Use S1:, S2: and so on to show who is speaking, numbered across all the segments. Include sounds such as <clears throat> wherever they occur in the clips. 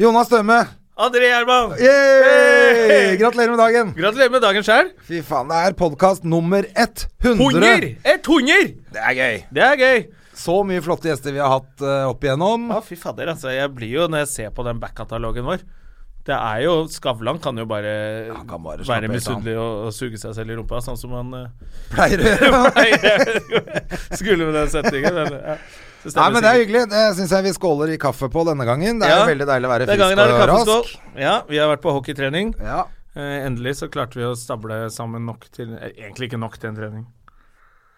S1: Jonas Dømme!
S2: André Gjerman!
S1: Yay! Gratulerer med dagen!
S2: Gratulerer med dagen sjøl.
S1: Fy faen, det er podkast nummer 100!
S2: Hunder! Et hunder!
S1: Det er gøy!
S2: Det er gøy.
S1: Så mye flotte gjester vi har hatt eh, opp igjennom.
S2: Ja, fy fader, altså. Jeg blir jo, når jeg ser på den back-katalogen vår Det er jo Skavlan kan jo bare,
S1: kan bare slappe helt
S2: være misunnelig og, og suge seg selv i rumpa, sånn som han eh, <laughs>
S1: Pleier å gjøre.
S2: skulle med den setningen. Men, ja. Så
S1: Nei,
S2: stemmer
S1: men det er
S2: sikkert.
S1: hyggelig. Det syns jeg vi skåler i kaffe på denne gangen. Det er
S2: Ja.
S1: jo veldig deilig å være
S2: Den gangen
S1: frisk
S2: er det
S1: og
S2: kaffeskål.
S1: rask.
S2: Ja, vi har vært på hockeytrening.
S1: Ja.
S2: Eh, endelig så klarte vi å stable sammen nok til eh, Egentlig ikke nok til en trening.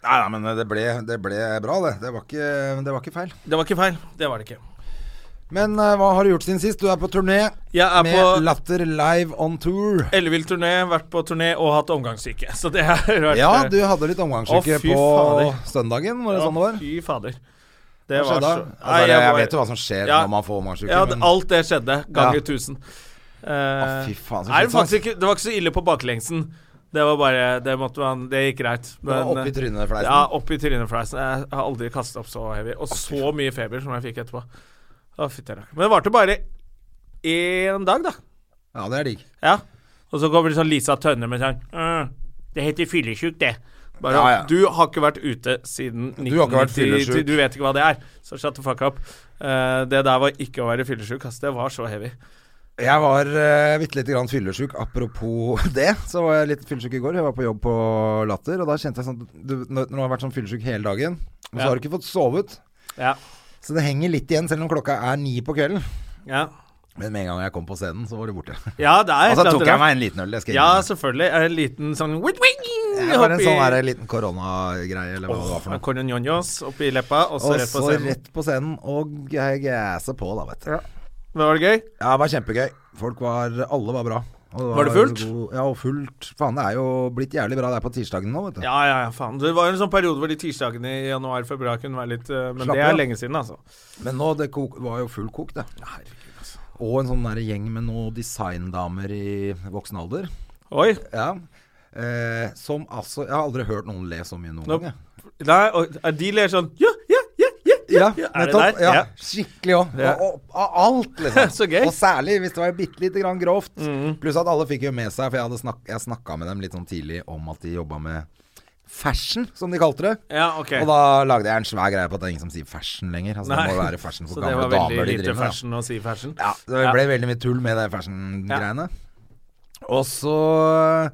S1: Nei, nei, men eh, det ble, det ble bra, det. Det var ikke, det var ikke feil.
S2: Det var ikke feil. Det var det ikke.
S1: Men eh, hva har du gjort siden sist? Du er på turné
S2: Jeg er
S1: med
S2: på-
S1: Latter Live on Tour.
S2: Ellevill turné, vært på turné og hatt omgangssyke. Så det har vært
S1: Ja, du
S2: eh,
S1: hadde litt omgangssyke
S2: Å, fy
S1: på
S2: fader.
S1: søndagen, var det
S2: ja,
S1: sånn det var?
S2: Fy fader. Det
S1: Hva
S2: var
S1: skjedde da?
S2: så-
S1: Altså,
S2: Nei,
S1: jeg,
S2: var-
S1: vet jo hva som skjer
S2: Ja.
S1: når man får omgangssyke.
S2: Ja, det-
S1: men-
S2: alt det skjedde. Ganger
S1: Ja.
S2: 1000. Eh,
S1: Å,
S2: nei,
S1: fy faen, så
S2: det, var
S1: slitsomt.
S2: faktisk ikke, det var ikke så ille på baklengsen. Det var bare Det måtte man Det gikk greit.
S1: var opp i
S2: eh,
S1: trynet liksom. fleisen.
S2: Ja, opp i trynet fleisen. Jeg har aldri kastet opp så heavy. Og så mye feber som jeg fikk etterpå. Å, fytti rakkeren. Men det varte bare én dag, da.
S1: ja, det er digg.
S2: Ja. Og så kommer det sånn Lisa Tønne med sånn «Øh, Det heter fyllesjuk, det. Bare,
S1: Ja, ja.
S2: Du har ikke vært ute siden
S1: Du har ikke vært
S2: 1990.
S1: fyllesyk.
S2: Du vet ikke hva det er. Så shut the fuck up. Eh, det der var ikke å være fyllesjuk, ass. Det var så heavy.
S1: Jeg var uh, bitte lite grann fyllesyk. Apropos <laughs> det, så var jeg litt fyllesyk i går. Jeg var på jobb på Latter, og da kjente jeg sånn du, Når når du har vært sånn fyllesyk hele dagen, og så
S2: Ja.
S1: har du ikke fått sovet,
S2: Ja.
S1: så det henger litt igjen, selv om klokka er ni på kvelden.
S2: Ja,
S1: Men med en gang jeg kom på scenen, så var det borte.
S2: ja det
S1: <laughs>
S2: er et
S1: Og så
S2: eller
S1: Altså, tok
S2: annet
S1: jeg
S2: rart.
S1: meg en liten øl. Jeg skal
S2: Ja,
S1: innrømme.
S2: selvfølgelig. En liten sånn wing, wing,
S1: Det var en
S2: oppi-
S1: sånn her liten koronagreie, eller hva det var for
S2: Åh,
S1: noe.
S2: Cornonjonos oppi leppa, og så
S1: Og
S2: rett på
S1: så
S2: scenen.
S1: rett på scenen, og jeg gassa på, da, vet du.
S2: Men var det gøy?
S1: Ja, det var kjempegøy. Folk var Alle var bra. Og
S2: Var det fullt?
S1: god- ja, og fullt. Faen, det er jo blitt jævlig bra. Det er på tirsdagen nå, vet du.
S2: Ja, ja, ja, faen. Det var jo en sånn periode hvor de tirsdagene i januar-februar kunne være litt eh, Men
S1: Slapp
S2: det er
S1: av.
S2: lenge siden, altså.
S1: Men nå det kok, var jo full kok, det.
S2: Herregud, altså.
S1: Og en sånn der gjeng med noen designdamer i voksen alder.
S2: Oi.
S1: Ja. Eh, som altså Jeg har aldri hørt noen le så mye noen
S2: Nå-
S1: gang. jeg.
S2: Nei, og er de ler sånn Ja, ja, ja, ja, ja,
S1: Ja,
S2: ja. Er det
S1: nettopp.
S2: der?
S1: Ja,
S2: Ja.
S1: skikkelig òg.
S2: Ja.
S1: Og, og, og
S2: <laughs>
S1: alt, liksom.
S2: Så gøy. Mm.
S1: Og særlig hvis det var bitte lite grann grovt. Pluss at alle fikk jo med seg, for jeg, hadde snak jeg snakka med dem litt sånn tidlig om at de jobba med fashion, som de kalte det.
S2: ja ok.
S1: Og da lagde jeg en svær greie på at det er ingen som sier fashion lenger. Altså,
S2: Nei.
S1: Det må jo være fashion for
S2: Så det
S1: gamle
S2: var
S1: damer
S2: veldig
S1: de
S2: lite
S1: driver med. da.
S2: fashion å si fashion.
S1: Ja, det ble veldig mye tull med de fashion-greiene. Og så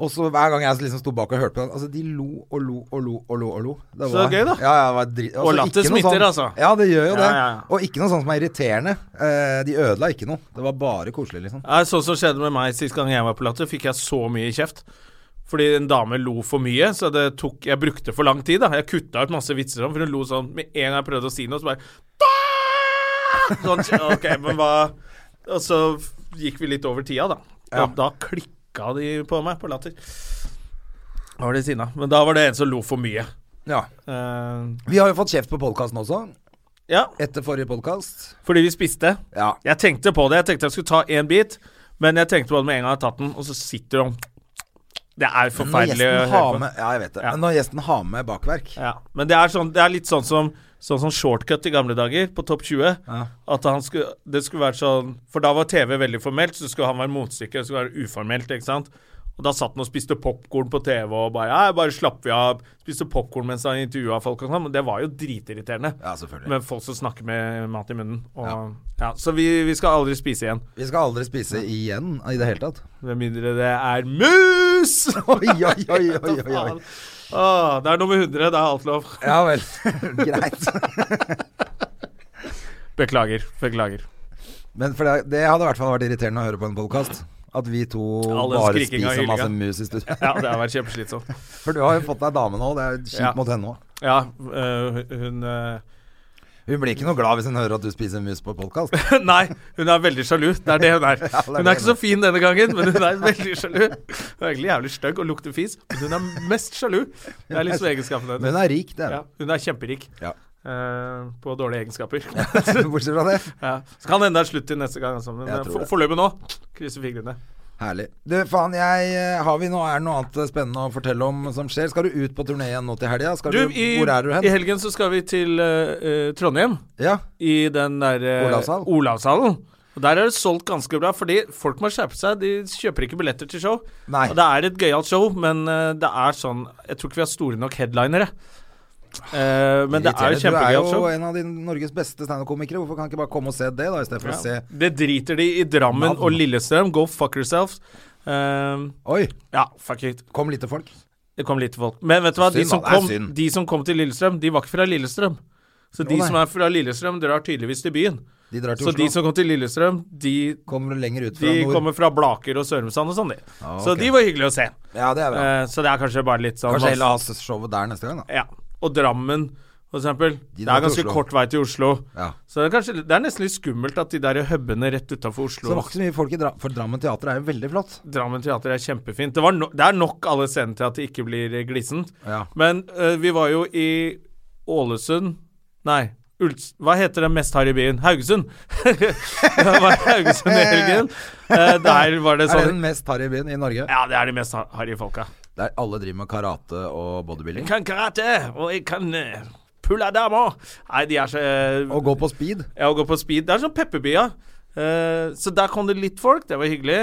S1: Og så hver gang jeg liksom sto bak og hørte på den Altså, de lo og lo og lo og lo. og lo Det
S2: Så gøy, da.
S1: Ja, ja, det var drit, altså,
S2: Og latter
S1: ikke noe
S2: smitter,
S1: sånn,
S2: altså.
S1: Ja, det gjør jo det.
S2: Ja, ja, ja.
S1: Og ikke noe sånt som er irriterende. Eh, de ødela ikke noe. Det var bare koselig, liksom.
S2: Ja, sånn som skjedde med meg sist gang jeg var på Latter, fikk jeg så mye kjeft. Fordi en dame lo for mye, så det tok Jeg brukte for lang tid, da. Jeg kutta ut masse vitser om, for hun lo sånn med en gang jeg prøvde å si noe, så bare «Bah!» Sånn, OK, men hva Og så gikk vi litt over tida, da.
S1: Ja.
S2: Og da klikka de på meg på Latter. Da var de sinna. Men da var det en som lo for mye.
S1: Ja.
S2: Eh,
S1: Vi har jo fått kjeft på podkasten også.
S2: ja,
S1: Etter forrige podkast.
S2: fordi vi spiste.
S1: Ja.
S2: Jeg tenkte på det. Jeg tenkte jeg skulle ta én bit, men jeg tenkte på det med en gang jeg har tatt den, og så sitter du Det er jo
S1: Når
S2: forferdelig å
S1: gjesten
S2: høre
S1: har
S2: på.
S1: med Ja, jeg vet det.
S2: Ja.
S1: Men når gjesten har med bakverk
S2: Ja. Men det er, sånn, det er litt sånn som, sånn som shortcut i gamle dager, på Topp 20.
S1: Ja.
S2: At han skulle, det skulle vært sånn For da var TV veldig formelt, så skulle han være motstykke. Det skulle være uformelt, ikke sant. Og da satt han og spiste popkorn på TV og bare ja, bare slapp vi av. Spiste popkorn mens han intervjua folk og sånn. Men det var jo dritirriterende.
S1: Ja, selvfølgelig.
S2: Med folk som snakker med mat i munnen. Og, ja. så vi, vi skal aldri spise igjen.
S1: Vi skal aldri spise igjen i det hele tatt.
S2: Med mindre det er mus!
S1: <laughs> Oi, oi, oi, <laughs> oi, oi, oi.
S2: Åh, det er nummer 100, det er alt lov.
S1: Ja vel. <laughs> Greit.
S2: Beklager. Beklager.
S1: Men for det, det hadde i hvert fall vært irriterende å høre på en podkast. At vi to
S2: All den
S1: bare
S2: skriking og
S1: spiser masse
S2: hyllinga.
S1: mus i studio. <laughs>
S2: Ja, det har vært kjempeslitsomt.
S1: For du har jo fått deg dame nå, og det er kjipt
S2: Ja.
S1: mot henne òg.
S2: Ja, øh, <laughs> hun øh,
S1: Hun blir ikke noe glad hvis hun hører at du spiser mus på podkast.
S2: Nei, hun er veldig sjalu. Det er det hun er.
S1: <laughs> Ja, det er
S2: Hun
S1: det
S2: er ikke så fin denne gangen, men hun er veldig sjalu. Hun er egentlig jævlig stygg og lukter fis, men hun er mest sjalu. Det er liksom egenskapen
S1: Men
S2: hennes.
S1: hun er rik, det er
S2: Ja,
S1: hun.
S2: hun er kjemperik
S1: Ja.
S2: eh, på dårlige egenskaper.
S1: <laughs> Bortsett fra det.
S2: ja. Så kan det hende det er slutt til neste gang, altså. Men
S1: Jeg
S2: eh,
S1: tror
S2: for,
S1: det.
S2: foreløpig nå krysser fingrene.
S1: Herlig. Du, faen, jeg eh, Har vi noe, er det noe annet eh, spennende å fortelle om som skjer? Skal du ut på turné igjen nå til helga? Skal
S2: Du,
S1: du-
S2: i,
S1: Hvor er du
S2: i
S1: hen?
S2: helgen så skal vi til eh, eh, Trondheim.
S1: Ja.
S2: i den der eh,
S1: Olavshallen.
S2: Olavshallen. Og Der er det solgt ganske bra, fordi folk må skjerpe seg. De kjøper ikke billetter til show.
S1: Nei.
S2: Og det er et gøyalt show, men eh, det er sånn Jeg tror ikke vi har store nok headlinere. Eh, men det er jo
S1: Irriterende.
S2: kjempegøyalt
S1: Du er
S2: show.
S1: jo en av de Norges beste standup-komikere. Hvorfor kan ikke bare komme og se det, da, istedenfor å se
S2: Ja. Det driter de i Drammen
S1: Navn.
S2: og Lillestrøm. Go fuck yourselves. Eh,
S1: Oi,
S2: ja, fuck it.
S1: kom lite folk.
S2: Det kom lite folk. Men vet du hva, de
S1: Synd,
S2: som,
S1: da. Det er
S2: kom,
S1: synd.
S2: de som kom til Lillestrøm, de var ikke fra Lillestrøm. Så de
S1: nei.
S2: som er fra Lillestrøm, drar tydeligvis til byen.
S1: De drar til
S2: Så
S1: Oslo.
S2: de som kom til Lillestrøm, de
S1: Kommer lenger ut fra
S2: De
S1: nord.
S2: kommer fra Blaker og Sørumsand og sånn, de.
S1: Ah,
S2: Så
S1: ok.
S2: de var hyggelige å se.
S1: Ja, det er bra.
S2: Eh, så det er kanskje bare litt sånn
S1: Kanskje heller ha showet der neste gang, da.
S2: Ja. Og Drammen, for eksempel.
S1: De
S2: det
S1: drar
S2: er
S1: til
S2: ganske
S1: Oslo.
S2: kort vei til Oslo.
S1: Ja.
S2: Så det er, kanskje, det er nesten litt skummelt at de der hubene rett utafor
S1: Så det
S2: Oslo
S1: var ikke så mye folk i Dra For Drammen teater er jo veldig flott.
S2: Drammen teater er kjempefint. Det, var no, det er nok alle scener til at det ikke blir eh, glissent.
S1: Ja.
S2: Men eh, vi var jo i Ålesund Nei. Uls Hva heter den mest harry byen? Haugesund! <laughs> det var Haugesund i
S1: <laughs>
S2: helgen. Eh, der var det
S1: Er det
S2: sånn
S1: den mest harry byen i Norge?
S2: Ja, det er de mest har- harry folka.
S1: Der alle driver med karate og bodybuilding?
S2: Jeg kan karate, og jeg kan eh, pulla damer. Nei, de er så
S1: Og gå på speed?
S2: Ja, og gå på speed. Det er sånn pepperbya. Eh, så der kom det litt folk, det var hyggelig.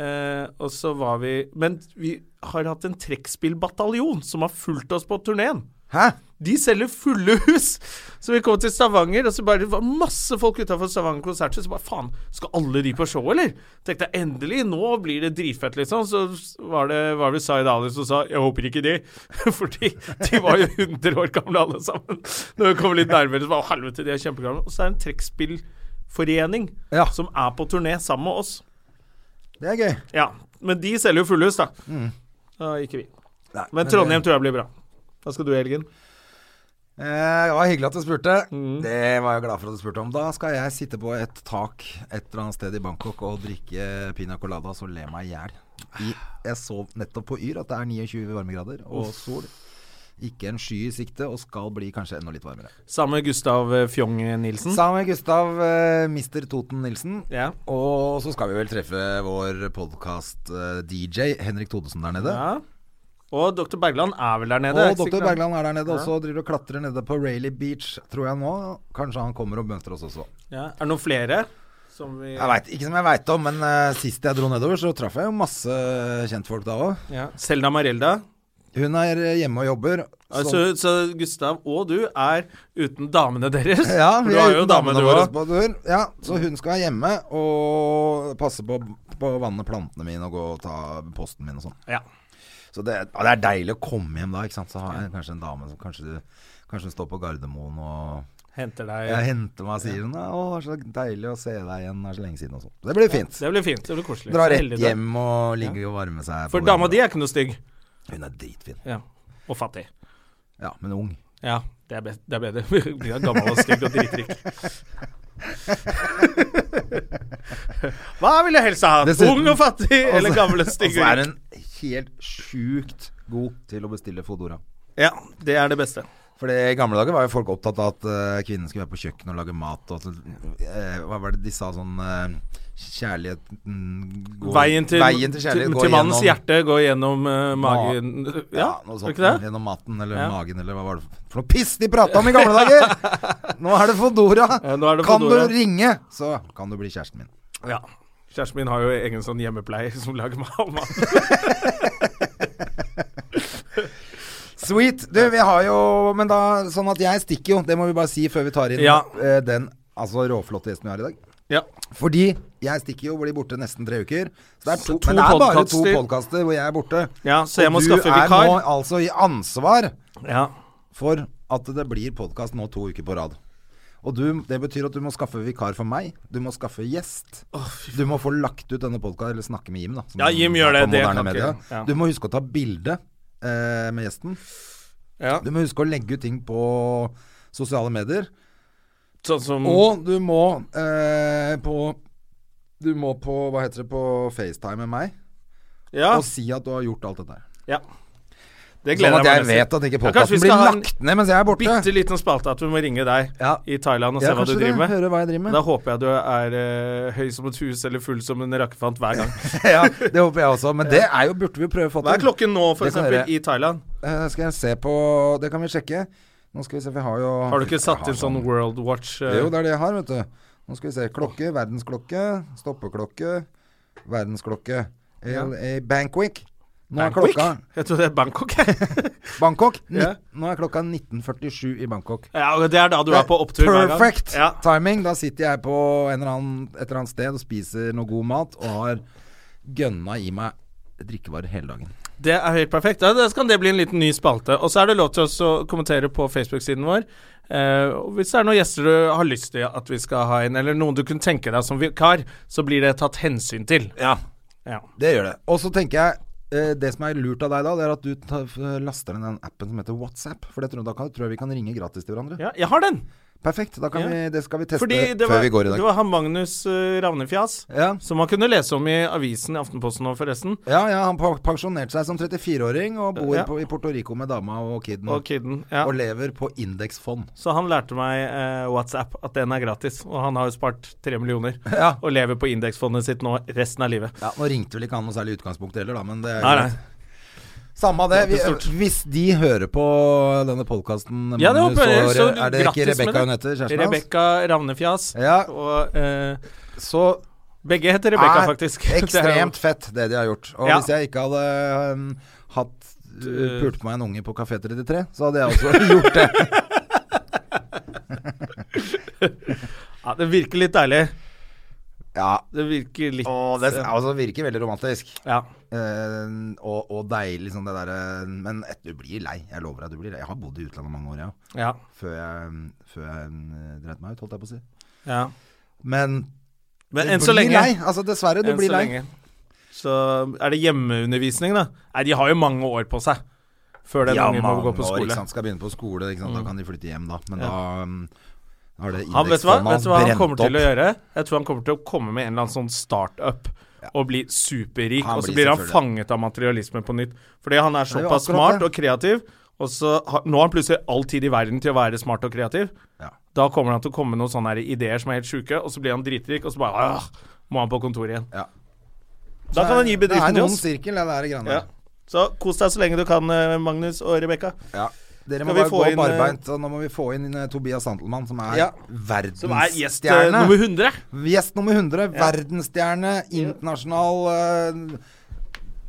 S2: Eh, og så var vi Men vi har hatt en trekkspillbataljon som har fulgt oss på turneen.
S1: Hæ?
S2: De selger fulle hus! Så vi kom til Stavanger, og så bare det var masse folk utafor Stavanger konserthus. Så bare faen, skal alle de på show, eller? Tenkte jeg endelig, nå blir det dritfett, liksom. Så var det var det Zaid Ali som sa 'jeg håper ikke de', <laughs> fordi de var jo 100 år gamle alle sammen. Når vi kom litt nærmere, så bare helvete, de er kjempegamle. Og så er det en trekkspillforening
S1: Ja.
S2: som er på turné sammen med oss.
S1: Det er gøy.
S2: Ja, men de selger jo fulle hus, da. Da gikk vi.
S1: Nei,
S2: Men Trondheim tror jeg blir bra. Hva skal du i helgen?
S1: Eh, det var hyggelig at du spurte.
S2: Mm.
S1: Det var jeg glad for at du spurte om. Da skal jeg sitte på et tak et eller annet sted i Bangkok og drikke piña coladas og le meg i hjel. I- Jeg så nettopp på Yr at det er 29 varmegrader og sol. Ikke en sky i sikte, og skal bli kanskje enda litt varmere.
S2: Sammen med Gustav eh, Fjong Nilsen.
S1: Sammen med Gustav, eh, Mr. Toten Nilsen.
S2: Ja.
S1: Og så skal vi vel treffe vår podkast-DJ Henrik Thodesen der nede.
S2: ja. Og Dr. Bergland er vel der nede? er
S1: Og
S2: ikke
S1: Dr.
S2: sikkert.
S1: Bergland er der nede også, driver og klatrer nede på Rayleigh Beach, tror jeg nå. Kanskje han kommer og møter oss også.
S2: Ja. Er det noen flere? Som vi
S1: Jeg vet, Ikke som jeg veit om, men eh, sist jeg dro nedover, så traff jeg jo masse eh, kjentfolk da òg.
S2: ja. Selda Marelda.
S1: Hun er eh, hjemme og jobber. så-
S2: Altså, så Gustav og du er uten damene deres?
S1: ja,
S2: For
S1: vi
S2: du
S1: er
S2: har jo
S1: uten
S2: dame,
S1: damene
S2: du
S1: våre
S2: òg.
S1: på tur. Ja, så hun skal være hjemme og passe på, på å vanne plantene mine og gå og ta posten min og sånn.
S2: Ja.
S1: Så det, ja, det er deilig å komme hjem da, ikke sant. Så har jeg kanskje en dame som kanskje, kanskje hun står på Gardermoen og
S2: Henter deg
S1: jeg henter meg og sier hun, Å, det er så deilig å se deg igjen, det er så lenge siden og sånn. Så Det blir fint.
S2: Det blir fint. Det blir koselig.
S1: Dra
S2: Så
S1: rett
S2: heldig du er.
S1: hjem og ligge og varme seg.
S2: For
S1: på
S2: dama
S1: hverandre.
S2: di er ikke noe stygg.
S1: Hun er dritfin.
S2: Ja. Og fattig.
S1: Ja, men ung.
S2: Ja, det er, be det er bedre. <laughs> Blir er gammel og stygg og dritrik. <laughs> Hva vil jeg helst ha?
S1: Dessuten-
S2: Ung og
S1: <laughs>
S2: fattig eller gammel og stygg?
S1: Og så Altså, er hun helt sjukt god til å bestille Fodora.
S2: Ja, det er det beste.
S1: For det i gamle dager var jo folk opptatt av at eh, kvinnen skulle være på kjøkkenet og lage mat. Og at, eh, hva var det de sa sånn eh, Kjærligheten går,
S2: Veien til,
S1: kjærlighet
S2: til,
S1: går
S2: til mannens
S1: gjennom-
S2: hjerte går gjennom eh, magen
S1: Ja,
S2: Ja,
S1: noe
S2: er
S1: sånt.
S2: ikke det?
S1: Gjennom maten eller
S2: Ja.
S1: magen eller hva var det for noe piss de prata om i gamle dager!
S2: <laughs>
S1: Nå er det Fodora!
S2: Ja, nå er det
S1: kan
S2: Foodora.
S1: du ringe, så kan du bli kjæresten min.
S2: Ja. Kjæresten min har jo egen sånn hjemmepleie som lager
S1: <laughs>
S2: meg all mat.
S1: Sweet. Du, vi har jo Men da Sånn at jeg stikker jo. Det må vi bare si før vi tar inn
S2: Ja.
S1: eh, den altså råflotte gjesten vi har i dag.
S2: Ja.
S1: Fordi jeg stikker jo, blir borte nesten tre uker. Så det er to,
S2: Så to
S1: men det er bare to
S2: podcaster.
S1: podkaster hvor jeg er borte.
S2: Ja, så jeg må
S1: og
S2: skaffe
S1: Du
S2: vikar.
S1: er nå altså i ansvar
S2: ja.
S1: for at det blir podkast nå to uker på rad. Og du, det betyr at du må skaffe vikar for meg. Du må skaffe gjest. du må få lagt ut denne podkasten, eller snakke med Jim, da. som
S2: Ja, Jim
S1: er
S2: gjør det,
S1: på
S2: det
S1: moderne
S2: kan
S1: media.
S2: ikke- ja.
S1: Du må huske å ta bilde eh, med gjesten.
S2: Ja.
S1: Du må huske å legge ut ting på sosiale medier.
S2: Sånn som
S1: Og du må eh, på Du må på Hva heter det på FaceTime med meg
S2: ja,
S1: og si at du har gjort alt dette her.
S2: ja. Det
S1: Sånn at jeg
S2: nesten.
S1: vet at ikke
S2: Ja, kanskje vi
S1: podkasten
S2: skal
S1: blir
S2: ha en
S1: lagt ned mens jeg er borte.
S2: Bitte liten spalte at vi må ringe deg
S1: Ja.
S2: i Thailand og
S1: Ja,
S2: se hva du
S1: kanskje det.
S2: driver med.
S1: Høre hva jeg driver med.
S2: Da håper jeg du er eh, høy som et hus eller full som en rakkefant hver
S1: <laughs>
S2: gang.
S1: <laughs> ja, det håper jeg også. Men det er jo burde vi prøve å få
S2: Hva er
S1: til.
S2: klokken nå, for
S1: Det kan
S2: eksempel,
S1: være-
S2: i Thailand?
S1: Eh, skal jeg se på Det kan vi sjekke. Nå skal vi se, for jeg har jo
S2: Har du ikke satt
S1: Jeg
S2: inn
S1: har
S2: sånn World Watch? eh,
S1: Jo, det er det jeg har, vet du. Nå skal vi se. Klokke, verdensklokke, stoppeklokke, verdensklokke. LA Banquick. Nå er
S2: Bangkok?
S1: klokka
S2: Jeg tror det er Bangkok, jeg.
S1: <laughs> Bangkok. Ni-
S2: <laughs> Ja.
S1: Nå er klokka 19.47 i Bangkok.
S2: ja, og det er da du er på opptur hver gang.
S1: Perfect
S2: Ja.
S1: timing. Da sitter jeg på en eller annen, et eller annet sted og spiser noe god mat og har gønna i meg drikkevarer hele dagen.
S2: Det er helt perfekt. Ja, da skal det bli en liten ny spalte. Og så er det lov til oss å kommentere på Facebook-siden vår. Eh, og hvis det er noen gjester du har lyst til at vi skal ha inn, eller noen du kunne tenke deg som vikar, så blir det tatt hensyn til.
S1: Ja,
S2: Ja.
S1: det gjør det. Og så tenker jeg eh, det som er lurt av deg da, det er at du tar, f- laster ned den appen som heter WhatsApp. For det tror, jeg- da kan, tror jeg vi kan ringe gratis til hverandre.
S2: ja, jeg har den!
S1: Perfekt. Da kan
S2: Ja.
S1: vi, det skal vi teste
S2: Fordi det
S1: før
S2: var,
S1: vi går i
S2: det
S1: dag.
S2: var han Magnus eh, Ravnefjas,
S1: Ja.
S2: som man kunne lese om i avisen i Aftenposten nå, forresten.
S1: ja, ja, han pa- pensjonerte seg som 34-åring og bor
S2: Ja.
S1: på, i Puerto Rico med dama og kiden.
S2: Og kiden. Ja.
S1: Mm. Og lever på indeksfond.
S2: Så han lærte meg eh, WhatsApp, at den er gratis. Og han har jo spart tre millioner.
S1: <laughs> Ja.
S2: Og lever på indeksfondet sitt nå resten av livet.
S1: Ja, Nå ringte vel ikke han noe særlig i utgangspunktet heller, da, men det er
S2: Nei, nei.
S1: Samme det. Vi,
S2: Det er ikke stort.
S1: hvis de hører på denne podkasten,
S2: Ja, det håper jeg. Så
S1: er det ikke
S2: grattis med
S1: Rebekka
S2: det.
S1: hun heter? Kjæresten hans?
S2: Rebekka Ravnefjas.
S1: Ja,
S2: Og eh,
S1: så
S2: begge heter Rebekka,
S1: er
S2: faktisk. <laughs> Det er jo-
S1: ekstremt fett det de har gjort. Og
S2: Ja.
S1: hvis jeg ikke hadde um, hatt uh, pult på meg en unge på Kafé 33, så hadde jeg også <laughs> gjort det.
S2: ja, det virker litt deilig.
S1: Ja.
S2: Det virker litt
S1: Og det altså, virker veldig romantisk.
S2: Ja.
S1: Eh, og, og deilig, sånn det derre Men et, du blir lei. Jeg lover deg, du blir lei. Jeg har bodd i utlandet mange år, jeg òg.
S2: Ja.
S1: Før jeg, før jeg eh, dreit meg ut, holdt jeg på å si.
S2: ja.
S1: Men
S2: Men
S1: Du
S2: enn så
S1: blir
S2: lenge
S1: Lei. Altså, dessverre, du
S2: Enn
S1: blir
S2: så
S1: lei.
S2: lenge. Så er det hjemmeundervisning, da. Nei, de har jo mange år på seg før den ungen må gå på
S1: år, ikke
S2: skole. Mm.
S1: sant? skal begynne på skole. Ikke sant? Da kan de flytte hjem, da. Men
S2: Ja.
S1: da um, har det
S2: Han, vet, du hva?
S1: indeksfondet
S2: vet du hva han
S1: brent
S2: kommer til å
S1: opp.
S2: gjøre? Jeg tror han kommer til å komme med en eller annen sånn startup. Og bli superrik,
S1: Han
S2: og så
S1: blir
S2: blir han
S1: selvfølgelig-
S2: fanget av materialisme på nytt. Fordi han er
S1: er jo
S2: såpass
S1: akkurat
S2: smart
S1: det.
S2: og kreativ, og så har, nå har han plutselig all tid i verden til å være smart og kreativ.
S1: Ja.
S2: Da kommer han til å komme med noen sånne her ideer som er helt sjuke, og så blir han dritrik, og så bare «Åh, må han på kontoret igjen.
S1: Ja.
S2: Da kan han gi bedriften
S1: Det er
S2: til
S1: noen
S2: oss.
S1: sirkel, det der greiene
S2: Ja.
S1: der.
S2: Så kos deg så lenge du kan, eh, Magnus og Rebekka.
S1: Ja. Dere må
S2: Skal vi
S1: bare
S2: få
S1: gå
S2: inn, eh,
S1: barbeint. og Nå må vi få inn eh, Tobias Santelmann, som er
S2: Ja. Som er gjest eh,
S1: verdensstjerne.
S2: nummer 100.
S1: Gjest nummer 100. Verdensstjerne, internasjonal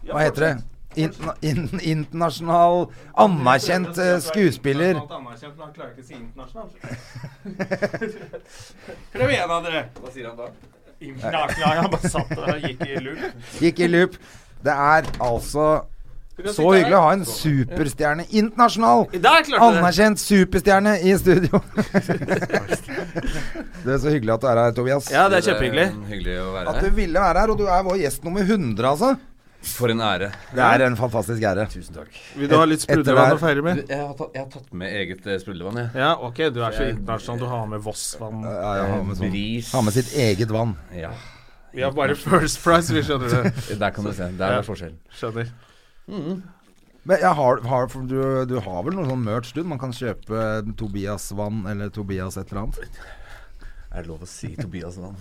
S1: eh, Hva heter det? Interna in internasjonal anerkjent eh,
S2: <laughs>
S1: skuespiller.
S2: Prøv igjen, da, dere. Hva sier han da? Klar, han bare satt der og gikk i loop.
S1: Gikk i loop. Det er altså så hyggelig å ha en superstjerne internasjonal!
S2: Der klarte du det!
S1: Anerkjent superstjerne i studio.
S2: <laughs>
S1: det er så hyggelig at du er her, Tobias.
S2: Ja, det er kjempehyggelig.
S3: Det er Hyggelig å være
S1: At du
S3: her.
S1: ville være her, og du er vår gjest nummer 100, altså.
S3: For en ære.
S1: Det er en fantastisk ære.
S3: Tusen takk.
S2: Vil du ha litt
S1: Etter
S2: sprudlevann
S1: det
S2: å feire
S3: Du,
S2: med?
S3: jeg, har tatt, jeg har tatt med eget eh, sprudlevann, jeg.
S2: Ja, ok, du er så internasjonal. Du har med Voss-vann.
S1: Ja, jeg har med, sånn.
S3: Bris.
S1: har med sitt eget vann.
S3: Ja.
S2: Vi har bare First Price, vi skjønner det.
S3: Der kan du se. Der
S2: Ja.
S3: er forskjellen.
S2: Skjønner.
S1: Men jeg har, har, for du, du har vel noe sånn merch, du? Man kan kjøpe Tobias vann eller Tobias et eller annet.
S3: Er det lov å si Tobias navn?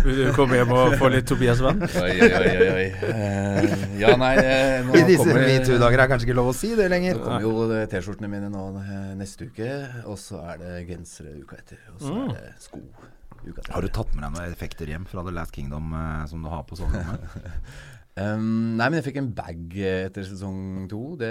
S2: Vil du komme hjem og få litt Tobias-vann?
S3: Oi, oi, oi. oi, oi. Eh, ja, nei eh, Nå
S1: I disse
S3: kommer,
S1: metoo-dager er det kanskje ikke lov å si det lenger.
S3: kommer jo eh, T-skjortene mine nå eh, neste uke, og så er det gensere uka etter. Og så er det sko uka etter.
S1: Mm. Har du tatt med deg noen effekter hjem fra The Last Kingdom eh, som du har på soverommet?
S2: <laughs>
S3: Um, nei, men jeg fikk en bag eh, etter sesong to. Det